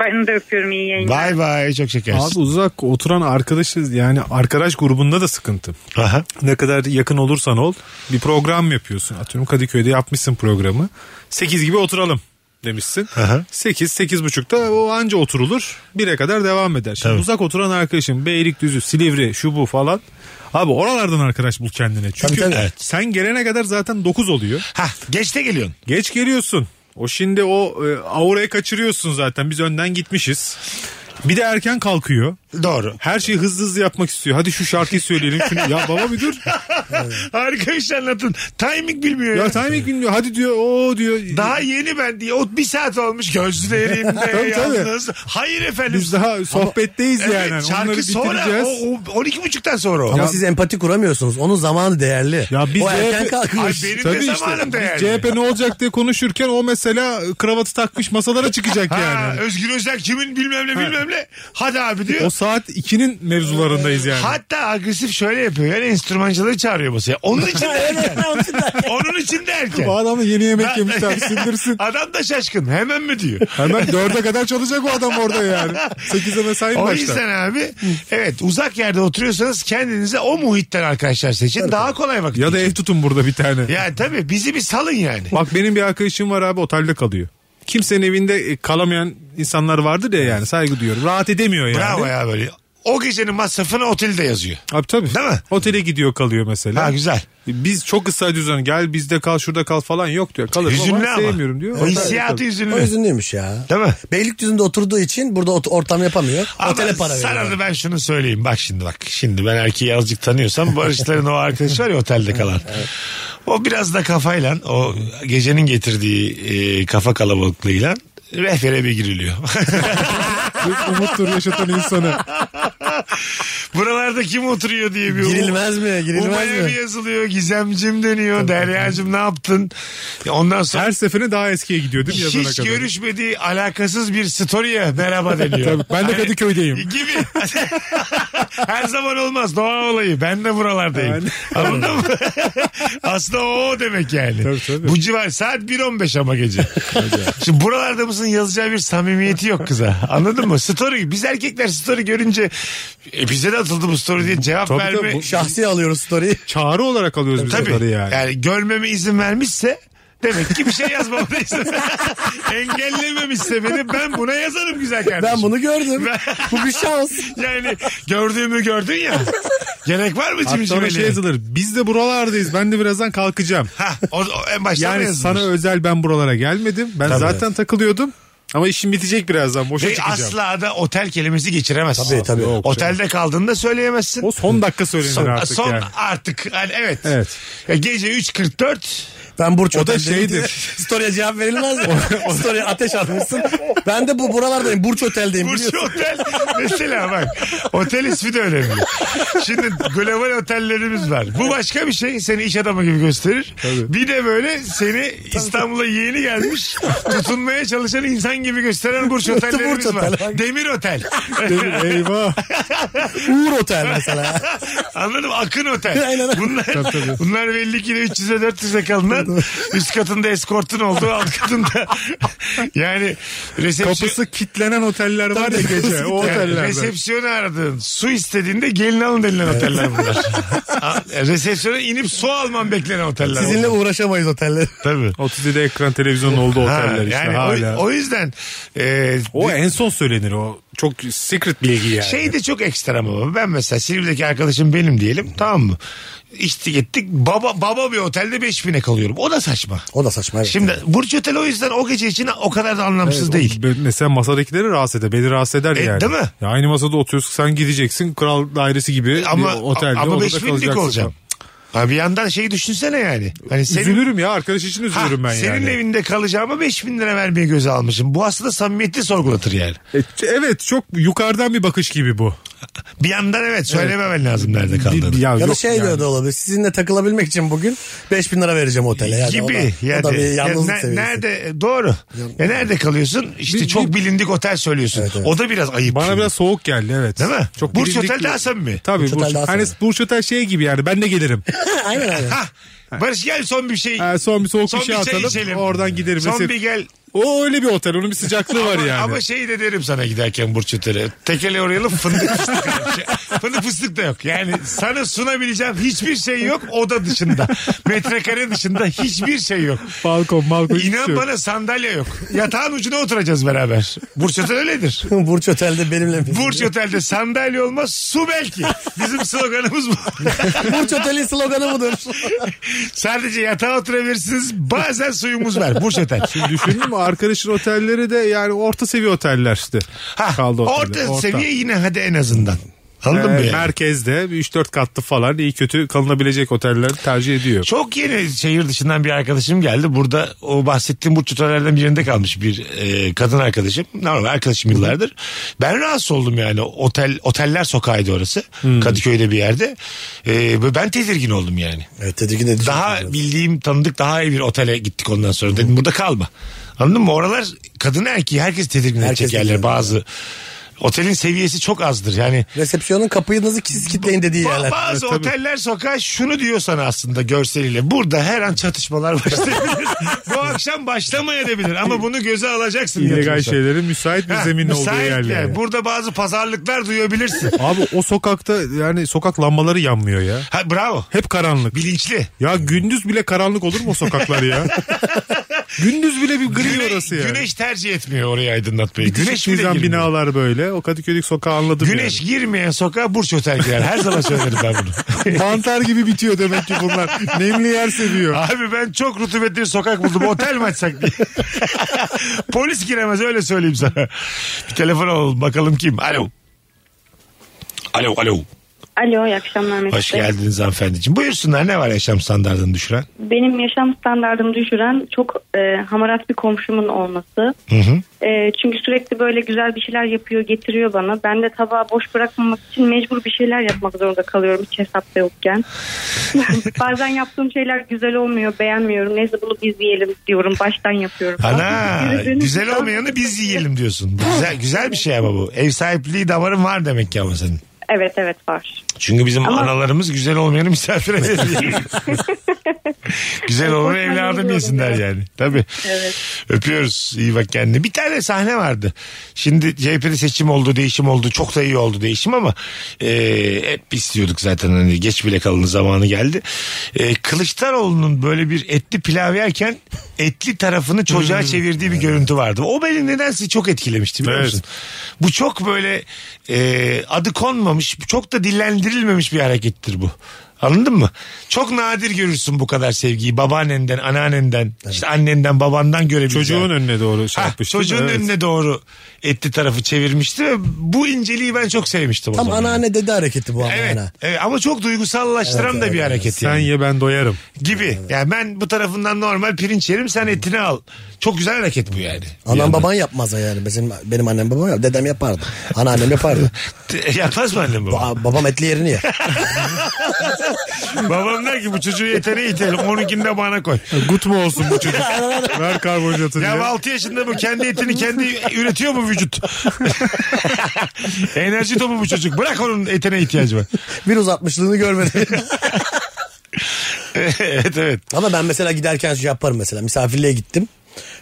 ben de öpüyorum iyi yayınlar. Bay bay çok şekersin. Abi uzak oturan arkadaşız yani arkadaş grubunda da sıkıntı. Aha. Ne kadar yakın olursan ol bir program yapıyorsun. Atıyorum Kadıköy'de yapmışsın programı. 8 gibi oturalım demişsin. Aha. 8 8 buçukta o anca oturulur. 1'e kadar devam eder. Şimdi Tabii. uzak oturan arkadaşın Beylikdüzü, Silivri, şu bu falan. Abi oralardan arkadaş bul kendine. Çünkü Tabii, tabii. sen gelene kadar zaten 9 oluyor. Ha, geçte geliyorsun. Geç geliyorsun. O şimdi o e, aurayı kaçırıyorsun zaten. Biz önden gitmişiz. Bir de erken kalkıyor. Doğru. Her şeyi hızlı hızlı yapmak istiyor. Hadi şu şarkıyı söyleyelim. Şunu. Ya baba bir dur. Harika bir şey anlatın. Timing bilmiyor ya. Ya timing bilmiyor. Hadi diyor o diyor. Daha yeni ben diye. O bir saat olmuş gözlerimde <laughs> Tabii, tabii. yalnız. Hayır efendim. biz daha sohbetteyiz Evet, yani. Onları şarkı sonra bitireceğiz. o, o 12 buçuktan sonra o. Ama siz empati kuramıyorsunuz. Onun zamanı değerli. Ya biz o erken CHP Ay kalkmış. benim Tabii de işte. zamanım da yani. Biz CHP ne olacak diye konuşurken o mesela kravatı takmış masalara çıkacak Ha, yani. Özgür Özel kimin bilmem ne bilmem ne. Hadi abi diyor. O saat 2'nin mevzularındayız yani. Hatta agresif şöyle yapıyor. Yani enstrümancıları çağırıyor masaya. Onun <laughs> için de erken. Onun için de erken. Bu adamla yeni yemek Ben- yemişler sindirsin. <laughs> Adam da şaşkın. Hemen mi diyor? Hemen dörde kadar çalışacak o adam <laughs> orada yani. Sekize mesai mi O başlar? yüzden abi evet uzak yerde oturuyorsanız kendinize o muhitten arkadaşlar seçin. Daha kolay vakit. Ya da ev tutun burada bir tane. Yani tabii bizi bir salın yani. Bak benim bir arkadaşım var abi otelde kalıyor. Kimsenin evinde e, kalamayan insanlar vardır ya yani saygı duyuyorum. Rahat edemiyor yani. Bravo ya böyle. O gecenin masrafını otelde yazıyor. Abi tabii. Değil mi? Otele gidiyor kalıyor mesela. E, Ha güzel. Biz çok ısrar ediyoruz. Gel bizde kal şurada kal falan yok diyor. Kalır Hüzünlü ama. sevmiyorum diyor. O Otelde hissiyatı kalıyor. O hüzünlü. üzünlüymüş ya. Değil mi? Beylikdüzü'nde oturduğu için burada ot- ortam yapamıyor. Ama Otele para sana veriyor. da ben şunu söyleyeyim. Bak şimdi bak. Şimdi ben erkeği azıcık tanıyorsam Barışların o arkadaşı var ya <laughs> otelde kalan. O biraz da kafayla o gecenin getirdiği e, kafa kalabalıklığıyla rehbere bir giriliyor. <laughs> Umuttur yaşatan insanı. <laughs> Buralarda kim oturuyor diye bir Girilmez mi? Girilmez Umaya mi? bir yazılıyor. Gizemcim deniyor. Deryacım ne yaptın? Ya Ondan sonra Her seferine daha eskiye gidiyor değil mi yazana hiç kadar? görüşmediği alakasız bir story'e merhaba deniyor. <laughs> Tabii, ben de Hani- Kadıköy'deyim. Gibi. <laughs> Her zaman olmaz. Doğa olayı. Ben de buralardayım. Yani. Anladın <laughs> mı? Aslında o demek yani. Tabii, tabii. Bu civar saat 1.15 ama gece. Şimdi buralarda mısın yazacağı bir samimiyeti yok kıza. Anladın mı? Story. Biz erkekler story görünce e, bize de atıldı bu story diye cevap Tabii, verme. tabii, bu- Şahsi alıyoruz story'i. Çağrı olarak alıyoruz <laughs> biz Tabii. onları yani. Yani. görmeme izin vermişse demek ki bir şey yazmamda izin <laughs> Engellememişse beni ben buna yazarım güzel kardeşim. Ben bunu gördüm. Bu bir şans. Yani gördüğümü gördün ya. Gerek var mı Hatta cimcimeli? şey yazılır. Biz de buralardayız. Ben de birazdan kalkacağım. Ha, o, o en başta Yani sana özel ben buralara gelmedim. Ben zaten takılıyordum. Ama işim bitecek birazdan. Boşa Ve çıkacağım. asla da otel kelimesi geçiremezsin. Tabii, tabii. Yok, Otelde kaldığında söyleyemezsin. O son dakika söylenir son hani artık son yani. artık. Yani evet. Evet. Ya gece 3.44 Ben Burç O da Otel'deyim şeydir. diye Story'e <laughs> cevap verilmez mi? Story'e ateş atmışsın. Ben de bu buralardayım. Burç Otel'deyim. Burç biliyorsun. Otel mesela bak otel ismi de önemli. Şimdi global otellerimiz var. Bu başka bir şey seni iş adamı gibi gösterir. Bir de böyle seni İstanbul'a yeni gelmiş tutunmaya çalışan insan gibi gösteren burç otellerimiz Burç var. otel. Demir otel. <laughs> Eyvah. Uğur Otel mesela. Anladım akın otel. Aynen. Bunlar, tabii. bunlar belli ki de 300'e 400'e kalınan üst katında eskortun olduğu alt katında <laughs> yani resepsiyon, Kapısı kitlenen oteller var ya gece. O Yani otellerde. resepsiyonu aradın. Su istediğinde gelin alın denilen oteller bunlar. <laughs> Ha, resepsiyona inip su alman beklenen oteller. Sizinle bunlar. uğraşamayız oteller. Tabii. 37 ekran televizyon oldu Ha, oteller işte yani hala. o, O, o yüzden e, en son söylenir o. Çok secret bilgi yani. şey de çok ekstra baba. Ben mesela Silivri'deki arkadaşım benim diyelim tamam mı? İçtik gittik baba baba bir otelde 5000'e kalıyorum. O da saçma. O da saçma. Evet. Şimdi Burç Otel o yüzden o gece için o kadar da anlamsız değil. Be- Mesela masadakileri rahatsız eder. Beni rahatsız eder E, yani. değil mi? Ya aynı masada oturuyorsun sen gideceksin. Kral dairesi gibi Ama bir otelde. ama odada 5000'lik kalacaksın. olacağım. Ha, bir yandan şeyi düşünsene yani. Hani senin, Üzülürüm ya arkadaş Ha, için üzülürüm ben senin yani. evinde kalacağıma 5000 lira vermeye göze almışım. Bu aslında samimiyeti sorgulatır yani. E, ç- Evet çok yukarıdan bir bakış gibi bu. Bir yandan evet söylememen lazım nerede kaldığını. Bir- Ya da yok şey yani. diyor da olabilir. Sizinle takılabilmek için bugün 5000 lira vereceğim otele. Yani o da- gibi O da, yani. bir Ya yalnızlık ne- seviyesi. nerede doğru. Ya nerede kalıyorsun? İşte Bir- çok bir- bilindik otel söylüyorsun. Evet, evet. O da biraz ayıp. Bana şimdi. biraz soğuk geldi evet. Değil mi? Çok Burç bilindik Otel bir- daha samimi. Tabii Burç Burç, Otel daha hani samimi. Burç Otel şey gibi yani ben de <laughs> gelirim. aynen aynen. Hah, Barış gel son bir şey. Ha, son bir soğuk Son bir şey bir çay atalım içelim. oradan giderim. son Mesela- bir gel. O öyle bir otel onun bir sıcaklığı var yani. Ama şey de derim sana giderken Burç Otel'e. Tekele uğrayalım fındık fıstık. Şey, <laughs> fındık fıstık da yok. Yani sana sunabileceğim hiçbir şey yok oda dışında. Metrekare dışında hiçbir şey yok. balkon balkon hiçbir şey İnan yok. bana sandalye yok. Yatağın ucuna oturacağız beraber. Burç Otel öyledir. Burç Otel'de benimle mi? Burç Otel'de sandalye olmaz su belki. Bizim sloganımız bu. <laughs> Burç Otel'in sloganı budur. Sadece yatağa oturabilirsiniz. Bazen suyumuz var. Burç Otel. Düşündün mü arkadaşın otelleri de yani orta seviye oteller işte. Ha, Kaldı orta, oteller, seviye yine hadi en azından. Ee, Anladın mı? yani? merkezde bir 3-4 katlı falan iyi kötü kalınabilecek oteller tercih ediyor. Çok yeni şehir dışından bir arkadaşım geldi. Burada o bahsettiğim bu tutarlardan birinde kalmış bir e, kadın arkadaşım. Normal arkadaşım yıllardır. Ben rahatsız oldum yani. Otel Oteller sokağıydı orası. Kadıköy'de bir yerde. E, ben tedirgin oldum yani. Evet tedirgin edici. Daha bildiğim tanıdık daha iyi bir otele gittik ondan sonra. Dedim burada kalma. Anladın mı? Oralar kadın erkeği herkes tedirgin Herkes edecek yerler tedirgin. bazı. Otelin seviyesi çok azdır yani. Resepsiyonun kapıyınızı siz kitleyin dediği Ba- yerler. Bazı oteller sokağa şunu diyor sana aslında görseliyle. Burada her an çatışmalar <laughs> başlayabilir. Bu akşam başlamayabilir ama bunu göze alacaksın. İllegal yatırımsan. şeylerin müsait bir Ha, zemin olduğu müsait yerler. yer. Burada bazı pazarlıklar duyabilirsin. Abi o sokakta yani sokak lambaları yanmıyor ya. ha, bravo. Hep karanlık. Bilinçli. Ya gündüz bile karanlık olur mu o <laughs> sokaklar ya? gündüz bile bir gri Güne- orası ya. Güneş tercih etmiyor orayı aydınlatmayı. Güneş Güneş bile bile girmiyor. binalar böyle. O Kadıköy'deki sokağı anladım Güneş girmeyen sokağa Burç Otel girer. Her zaman söylerim ben bunu. yani. <laughs> Mantar gibi bitiyor demek ki bunlar. Nemli yer seviyor. Abi ben çok rutubetli bir sokak buldum. Otel mi açsak <laughs> diye. Polis giremez öyle söyleyeyim sana. Bir telefon alalım bakalım kim. Alo. Alo alo. Alo iyi akşamlar Mesut Hoş Bey. geldiniz hanımefendiciğim. Buyursunlar ne var yaşam standartını düşüren? Benim yaşam standartımı düşüren çok e, hamarat bir komşumun olması. Hı hı. E, çünkü sürekli böyle güzel bir şeyler yapıyor getiriyor bana. Ben de tabağı boş bırakmamak için mecbur bir şeyler yapmak zorunda kalıyorum hiç <laughs> hesapta yokken. Bazen yaptığım şeyler güzel olmuyor beğenmiyorum. Neyse bunu biz yiyelim diyorum baştan yapıyorum. Ana Aslında yürüdüğünüz güzel zaman- olmayanı biz yiyelim diyorsun. Bu Güzel, güzel bir şey ama bu. Ev sahipliği damarın var demek ki ama senin. Evet evet var. Çünkü bizim Ama- analarımız güzel olmayanı <laughs> misafir ediyor. güzel olanı korkmayın, evladım biliyorum yesinler <laughs> ya. yani. Tabii. Evet. Öpüyoruz. iyi bak kendine. Bir tane sahne vardı. Şimdi CHP'de seçim oldu, değişim oldu. Çok da iyi oldu değişim ama e, hep istiyorduk zaten. Hani geç bile kalın zamanı geldi. E, Kılıçdaroğlu'nun böyle bir etli pilav yerken etli tarafını çocuğa çevirdiği bir görüntü vardı. O beni nedense çok etkilemişti biliyor Evet. musun? Bu çok böyle e, adı konmamış, çok da dillendirilmemiş bir harekettir bu. Anladın mı? Çok nadir görürsün bu kadar sevgiyi babaannenden, anneannenden, işte annenden, babandan görebileceğin. Çocuğun önüne doğru şey Ha, yapmıştım. çocuğun Evet. önüne doğru etli tarafı çevirmişti ve bu inceliği ben çok sevmiştim o Tam zaman. anneanne dede hareketi bu ama. Evet, yani. evet ama çok duygusallaştıran Evet, da bir evet, hareket Sen yani. ye ben doyarım. gibi. Yani ben bu tarafından normal pirinç yerim sen etini al. Çok güzel hareket bu yani. Anam baban yapmaz yani. Bizim, benim annem babam yap. Dedem yapardı. <laughs> Anneannem yapardı. <laughs> Yapmaz mı annem baba? Ba- babam etli yerini yer. Babam der ki bu çocuğu yeteneği itelim. Onunkini de bana <laughs> koy. Gut mu olsun bu çocuk? Ver karbonhidratını. Ya ye. 6 yaşında bu kendi etini kendi üretiyor mu vücut? Enerji topu bu çocuk. Bırak onun etine ihtiyacı var. Bir <laughs> uzatmışlığını görmedim. evet evet. Ama ben mesela giderken şey yaparım mesela misafirliğe gittim.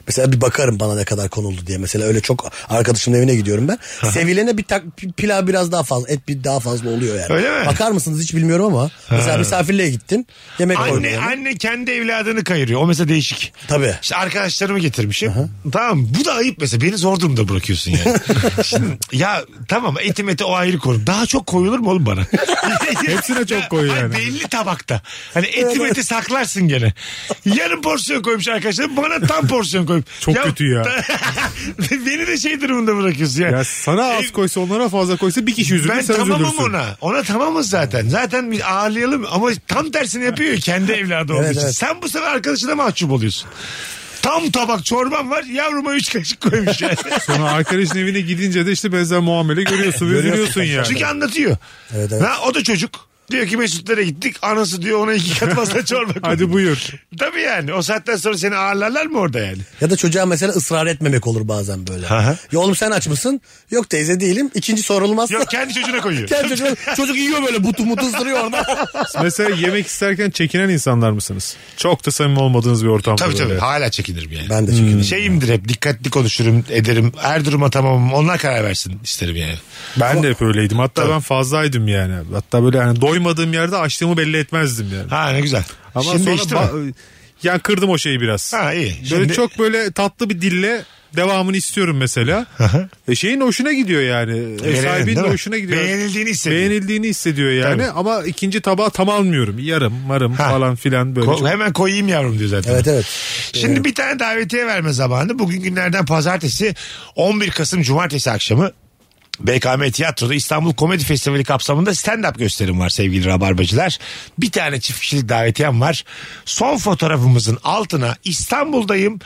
Mesela bir bakarım bana ne kadar konuldu diye. Mesela öyle çok arkadaşımın evine gidiyorum ben. Sevilene bir tak, bir pilav biraz daha fazla, et bir daha fazla oluyor yani. Öyle mi? Bakar mısınız hiç bilmiyorum ama. Mesela misafirliğe gittin. Yemek koydun. Anne, yani. anne kendi evladını kayırıyor. O mesela değişik. Tabii. İşte arkadaşlarımı getirmişim. Tamam bu da ayıp mesela. Beni zor durumda bırakıyorsun <laughs> yani. Şimdi, ya tamam etim eti o ayrı konu. Daha çok koyulur mu oğlum bana? <laughs> Hepsine çok koy Hani yani. Belli tabakta. Hani etim eti saklarsın gene. Yarım porsiyon koymuş arkadaşlar. Bana tam porsiyon koymuş. Çok kötü ya. <laughs> beni de şey durumunda bırakıyorsun yani. Ya sana az E, koysa onlara fazla koysa bir kişi yüzünden ben sen tamamım üzülürsün. ona. Ona tamamız zaten. Zaten biz ağırlayalım ama tam tersini yapıyor kendi evladı olduğu Evet, için. evet. Sen bu sefer arkadaşına mahcup oluyorsun. Tam tabak çorban var yavruma üç kaşık koymuş yani. Sonra arkadaşın evine gidince de işte benzer muamele görüyorsun ve üzülüyorsun yani. Çünkü anlatıyor. Evet, evet. Ha, o da çocuk. Diyor ki Mesut'lara gittik. Anası diyor ona iki kat fazla çorba koy. Hadi buyur. Tabii yani. O saatten sonra seni ağırlarlar mı orada yani? Ya da çocuğa mesela ısrar etmemek olur bazen böyle. Aha. Ya oğlum sen aç mısın? Yok teyze değilim. İkinci sorulmazsa. Yok kendi çocuğuna koyuyor. <laughs> Kendi çocuğu- çocuk yiyor böyle butu mutu ısırıyor orada. <laughs> Mesela yemek isterken çekinen insanlar mısınız? Çok da samimi olmadığınız bir ortamda. tabii tabii. böyle. Hala çekinirim yani. Ben de çünkü. Şeyimdir hep dikkatli konuşurum ederim. Her duruma tamamım onlar karar versin isterim yani. Ben de hep öyleydim. Hatta ben fazlaydım yani. Hatta böyle yani doymadığım yerde açlığımı belli etmezdim yani. Ha ne güzel. Ama Şimdi sonra işte ba- yani kırdım o şeyi biraz. Ha iyi. Böyle Şimdi- çok böyle tatlı bir dille devamını istiyorum mesela. hı. e şeyin hoşuna gidiyor yani. Ev Beğenin, sahibinin değil de mi? hoşuna gidiyor. Beğenildiğini hissediyor. Beğenildiğini hissediyor yani Tabii. ama ikinci tabağı tam almıyorum. Yarım, marım Ha. falan filan böyle. Ko- çok- hemen koyayım yavrum diyor zaten. Evet evet. Şimdi bir tane davetiye verme zamanı. Bugün günlerden pazartesi 11 Kasım Cumartesi akşamı BKM Tiyatro'da İstanbul Komedi Festivali kapsamında stand-up gösterim var sevgili rabarbacılar. Bir tane çift kişilik davetiyem var. Son fotoğrafımızın altına İstanbul'dayım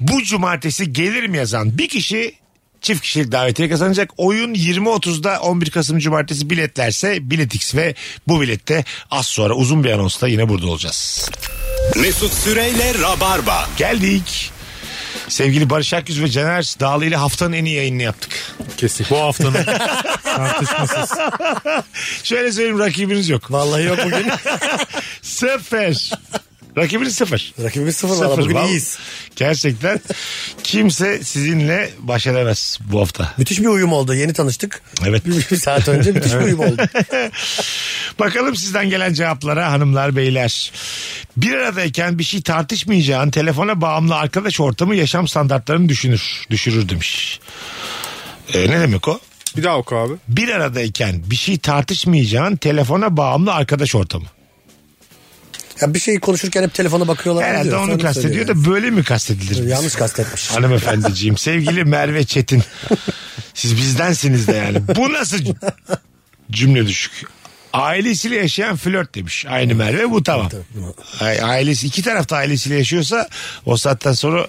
bu cumartesi gelirim yazan bir kişi çift kişilik davetiye kazanacak. Oyun 20.30'da 11 Kasım Cumartesi biletlerse Biletix ve bu bilette az sonra uzun bir anonsla yine burada olacağız. Mesut Süreyle Rabarba. Geldik. Sevgili Barış Akyüz ve Caner Dağlı ile haftanın en iyi yayınını <laughs> yaptık. Kesin. Bu haftanın <laughs> tartışmasız. Şöyle söyleyeyim rakibiniz yok. Vallahi yok bugün. <laughs> Sıfır. Rakibiniz sıfır. Rakibimiz sıfır, valla bugün Vallahi iyiyiz. Gerçekten kimse sizinle baş edemez bu hafta. Müthiş bir uyum oldu. Yeni tanıştık. Evet. Bir, bir saat önce müthiş bir uyum oldu. Bakalım sizden gelen cevaplara hanımlar beyler. Bir aradayken bir şey tartışmayacağın telefona bağımlı arkadaş ortamı yaşam standartlarını düşünür, düşürür demiş. Ee, ne demek o? Bir daha oku abi. bir aradayken bir şey tartışmayacağın telefona bağımlı arkadaş ortamı. Ya bir şey konuşurken hep telefona bakıyorlar. mı Herhalde diyor. onu Sen kastediyor söylüyorsun. da Hani- böyle mi kastedilir? Yanlış şey. kastetmiş. <laughs> Hanımefendiciğim sevgili Merve Çetin. Siz bizdensiniz de yani. Bu nasıl cümle düşük? Ailesiyle yaşayan flört demiş. Aynı Merve bu tamam. Ay- Ailesi iki tarafta ailesiyle yaşıyorsa o saatten sonra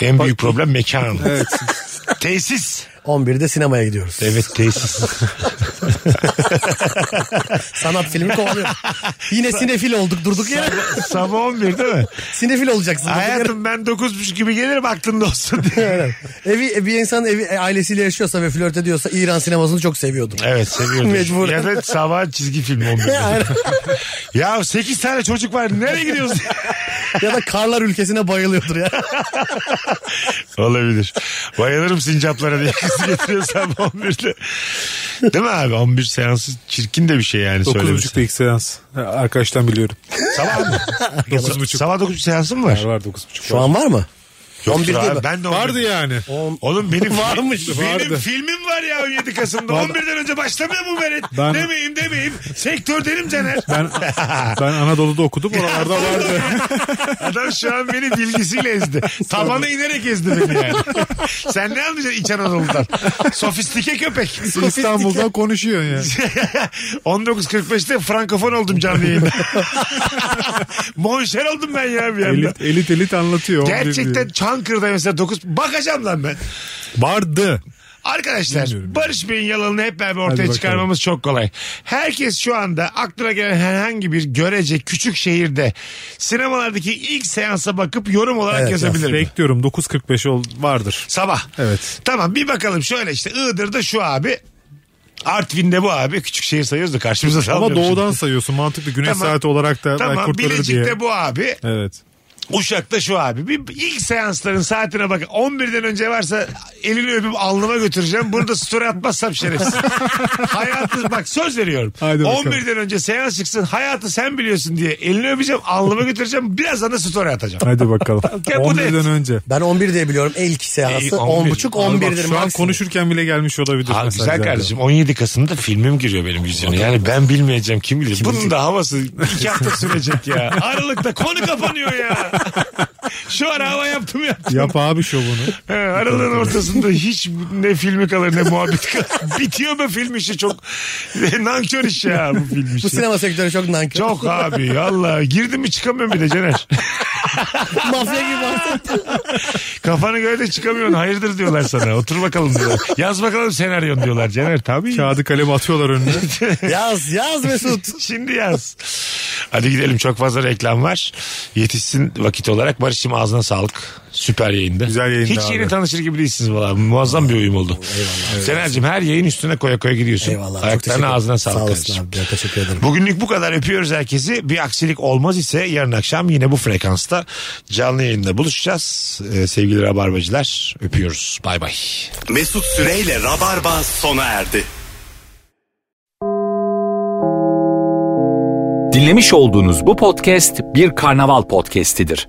en büyük problem mekan. Evet. Tesis. 11'de sinemaya gidiyoruz. Evet tesis. <laughs> Sanat filmi <laughs> kovalıyor. Yine sinefil olduk durduk yere. Sabah 11 değil mi? sinefil olacaksın. durduk yere. Hayatım ben 9.30 gibi gelirim aklında olsun diye. Evi, bir insan evi e, ailesiyle yaşıyorsa ve flört ediyorsa İran sinemasını çok seviyordum. Evet seviyorum. Mecbur. Ya da sabah çizgi film 11. ya 8 tane çocuk var nereye gidiyorsun? <laughs> ya da karlar ülkesine bayılıyordur ya. Olabilir. Bayılırım sincaplara diye kızı getiriyor <laughs> sabah 11'de. Değil mi abi 11 seansı çirkin de bir şey yani söylemesi. 9.30'da ilk seans. Ha, Arkadaştan biliyorum. <laughs> Sabah mı? 9.30. Sabah 9.30 seansı mı var? Var 9.30. Şu an var mı? Yoktur 11 değil abi, mi? ben de 11. Vardı yani. On- Oğlum benim Varmış, benim vardı. filmim var ya 17 Kasım'da. 11'den önce başlamıyor bu Berit. Ben- Demeyeyim demeyeyim. Sektördenim Caner. Ben ben Anadolu'da okudum <laughs> oralarda vardı. Adam şu an beni bilgisiyle ezdi. Tabana inerek ezdi beni yani. <laughs> Sen ne anlayacaksın İç Anadolu'dan? Sofistike köpek. <laughs> İstanbul'da konuşuyorsun yani. 19.45'te frankofon oldum canlı yayında. <laughs> Monşer oldum ben ya bir anda. Elit elit elit anlatıyor. on bir Gerçekten diyor. Çankırı'da mesela 9 bakacağım lan ben. vardı. Arkadaşlar Bilmiyorum. Barış Bey'in yalanını hep beraber Hadi ortaya bakalım. çıkarmamız çok kolay. Herkes şu anda aklına gelen herhangi bir görece küçük şehirde sinemalardaki ilk seansa bakıp yorum olarak Evet, yazabilir. mi? Bekliyorum 9.45 ol vardır. Sabah. Evet. Tamam bir bakalım şöyle işte Iğdır'da şu abi. Artvin'de bu abi. Küçük şehir sayıyoruz da karşımıza da Ama almıyorum şimdi. doğudan sayıyorsun mantıklı güneş Tamam. saati olarak da belki Tamam kurtarır diye. Bilecik'te bu abi. Evet. Uşak'ta şu abi. Bir ilk seansların saatine bak. 11'den önce varsa elini öpüp alnıma götüreceğim. Burada story atmazsam <laughs> şerefsiz. hayatı bak söz veriyorum. Haydi bakalım. 11'den önce seans çıksın. Hayatı sen biliyorsun diye elini öpeceğim. Alnıma götüreceğim. Birazdan da story atacağım. Hadi bakalım. <laughs> Ya bu net. 11'den önce. Ben 11 diye biliyorum. İlk seansı Ey, 11. 10.30 Abi bak, 11'dir. Şu an maksimum. konuşurken bile gelmiş olabilir. Abi mesela güzel zaten. kardeşim 17 Kasım'da filmim giriyor benim vizyona. Yani ben bilmeyeceğim kim bilir. Bunun da havası iki hafta sürecek <laughs> ya. Aralıkta konu kapanıyor <laughs> ya. Şu ara hava yaptım <laughs> ya. Yap abi şovunu. He, aralığın ortasında hiç ne filmi kalır ne muhabbet <laughs> kalır. Bitiyor be film işi çok nankör iş ya bu film Bu işi. sinema sektörü çok nankör. Çok abi Allah girdim mi çıkamıyorum bir de Cener. <laughs> mafya <laughs> gibi bahsediyor. Kafanı göre de çıkamıyorsun hayırdır diyorlar sana. Otur bakalım diyorlar. Yaz bakalım senaryon diyorlar Cener tabii. Kağıdı kalemi atıyorlar önüne. Yaz yaz Mesut. Şimdi yaz. Hadi gidelim çok fazla reklam var. Yetişsin vakit olarak. Barış'cığım ağzına sağlık. Süper yayında. Güzel yayında Hiç abi. yeni tanışır gibi değilsiniz valla. Muazzam bir uyum oldu. Eyvallah. Sener'cim her yayın üstüne koya koya gidiyorsun. Eyvallah. çok teşekkür Ayaklarına ederim. ağzına sağlık. Sağ kardeşim. olasın abi. ya, Teşekkür ederim. Bugünlük bu kadar öpüyoruz herkesi. Bir aksilik olmaz ise yarın akşam yine bu frekansta canlı yayında buluşacağız. Ee, sevgili Rabarbacılar öpüyoruz. Bay bay. Mesut Süreyle Rabarba sona erdi. Dinlemiş olduğunuz bu podcast bir karnaval podcastidir.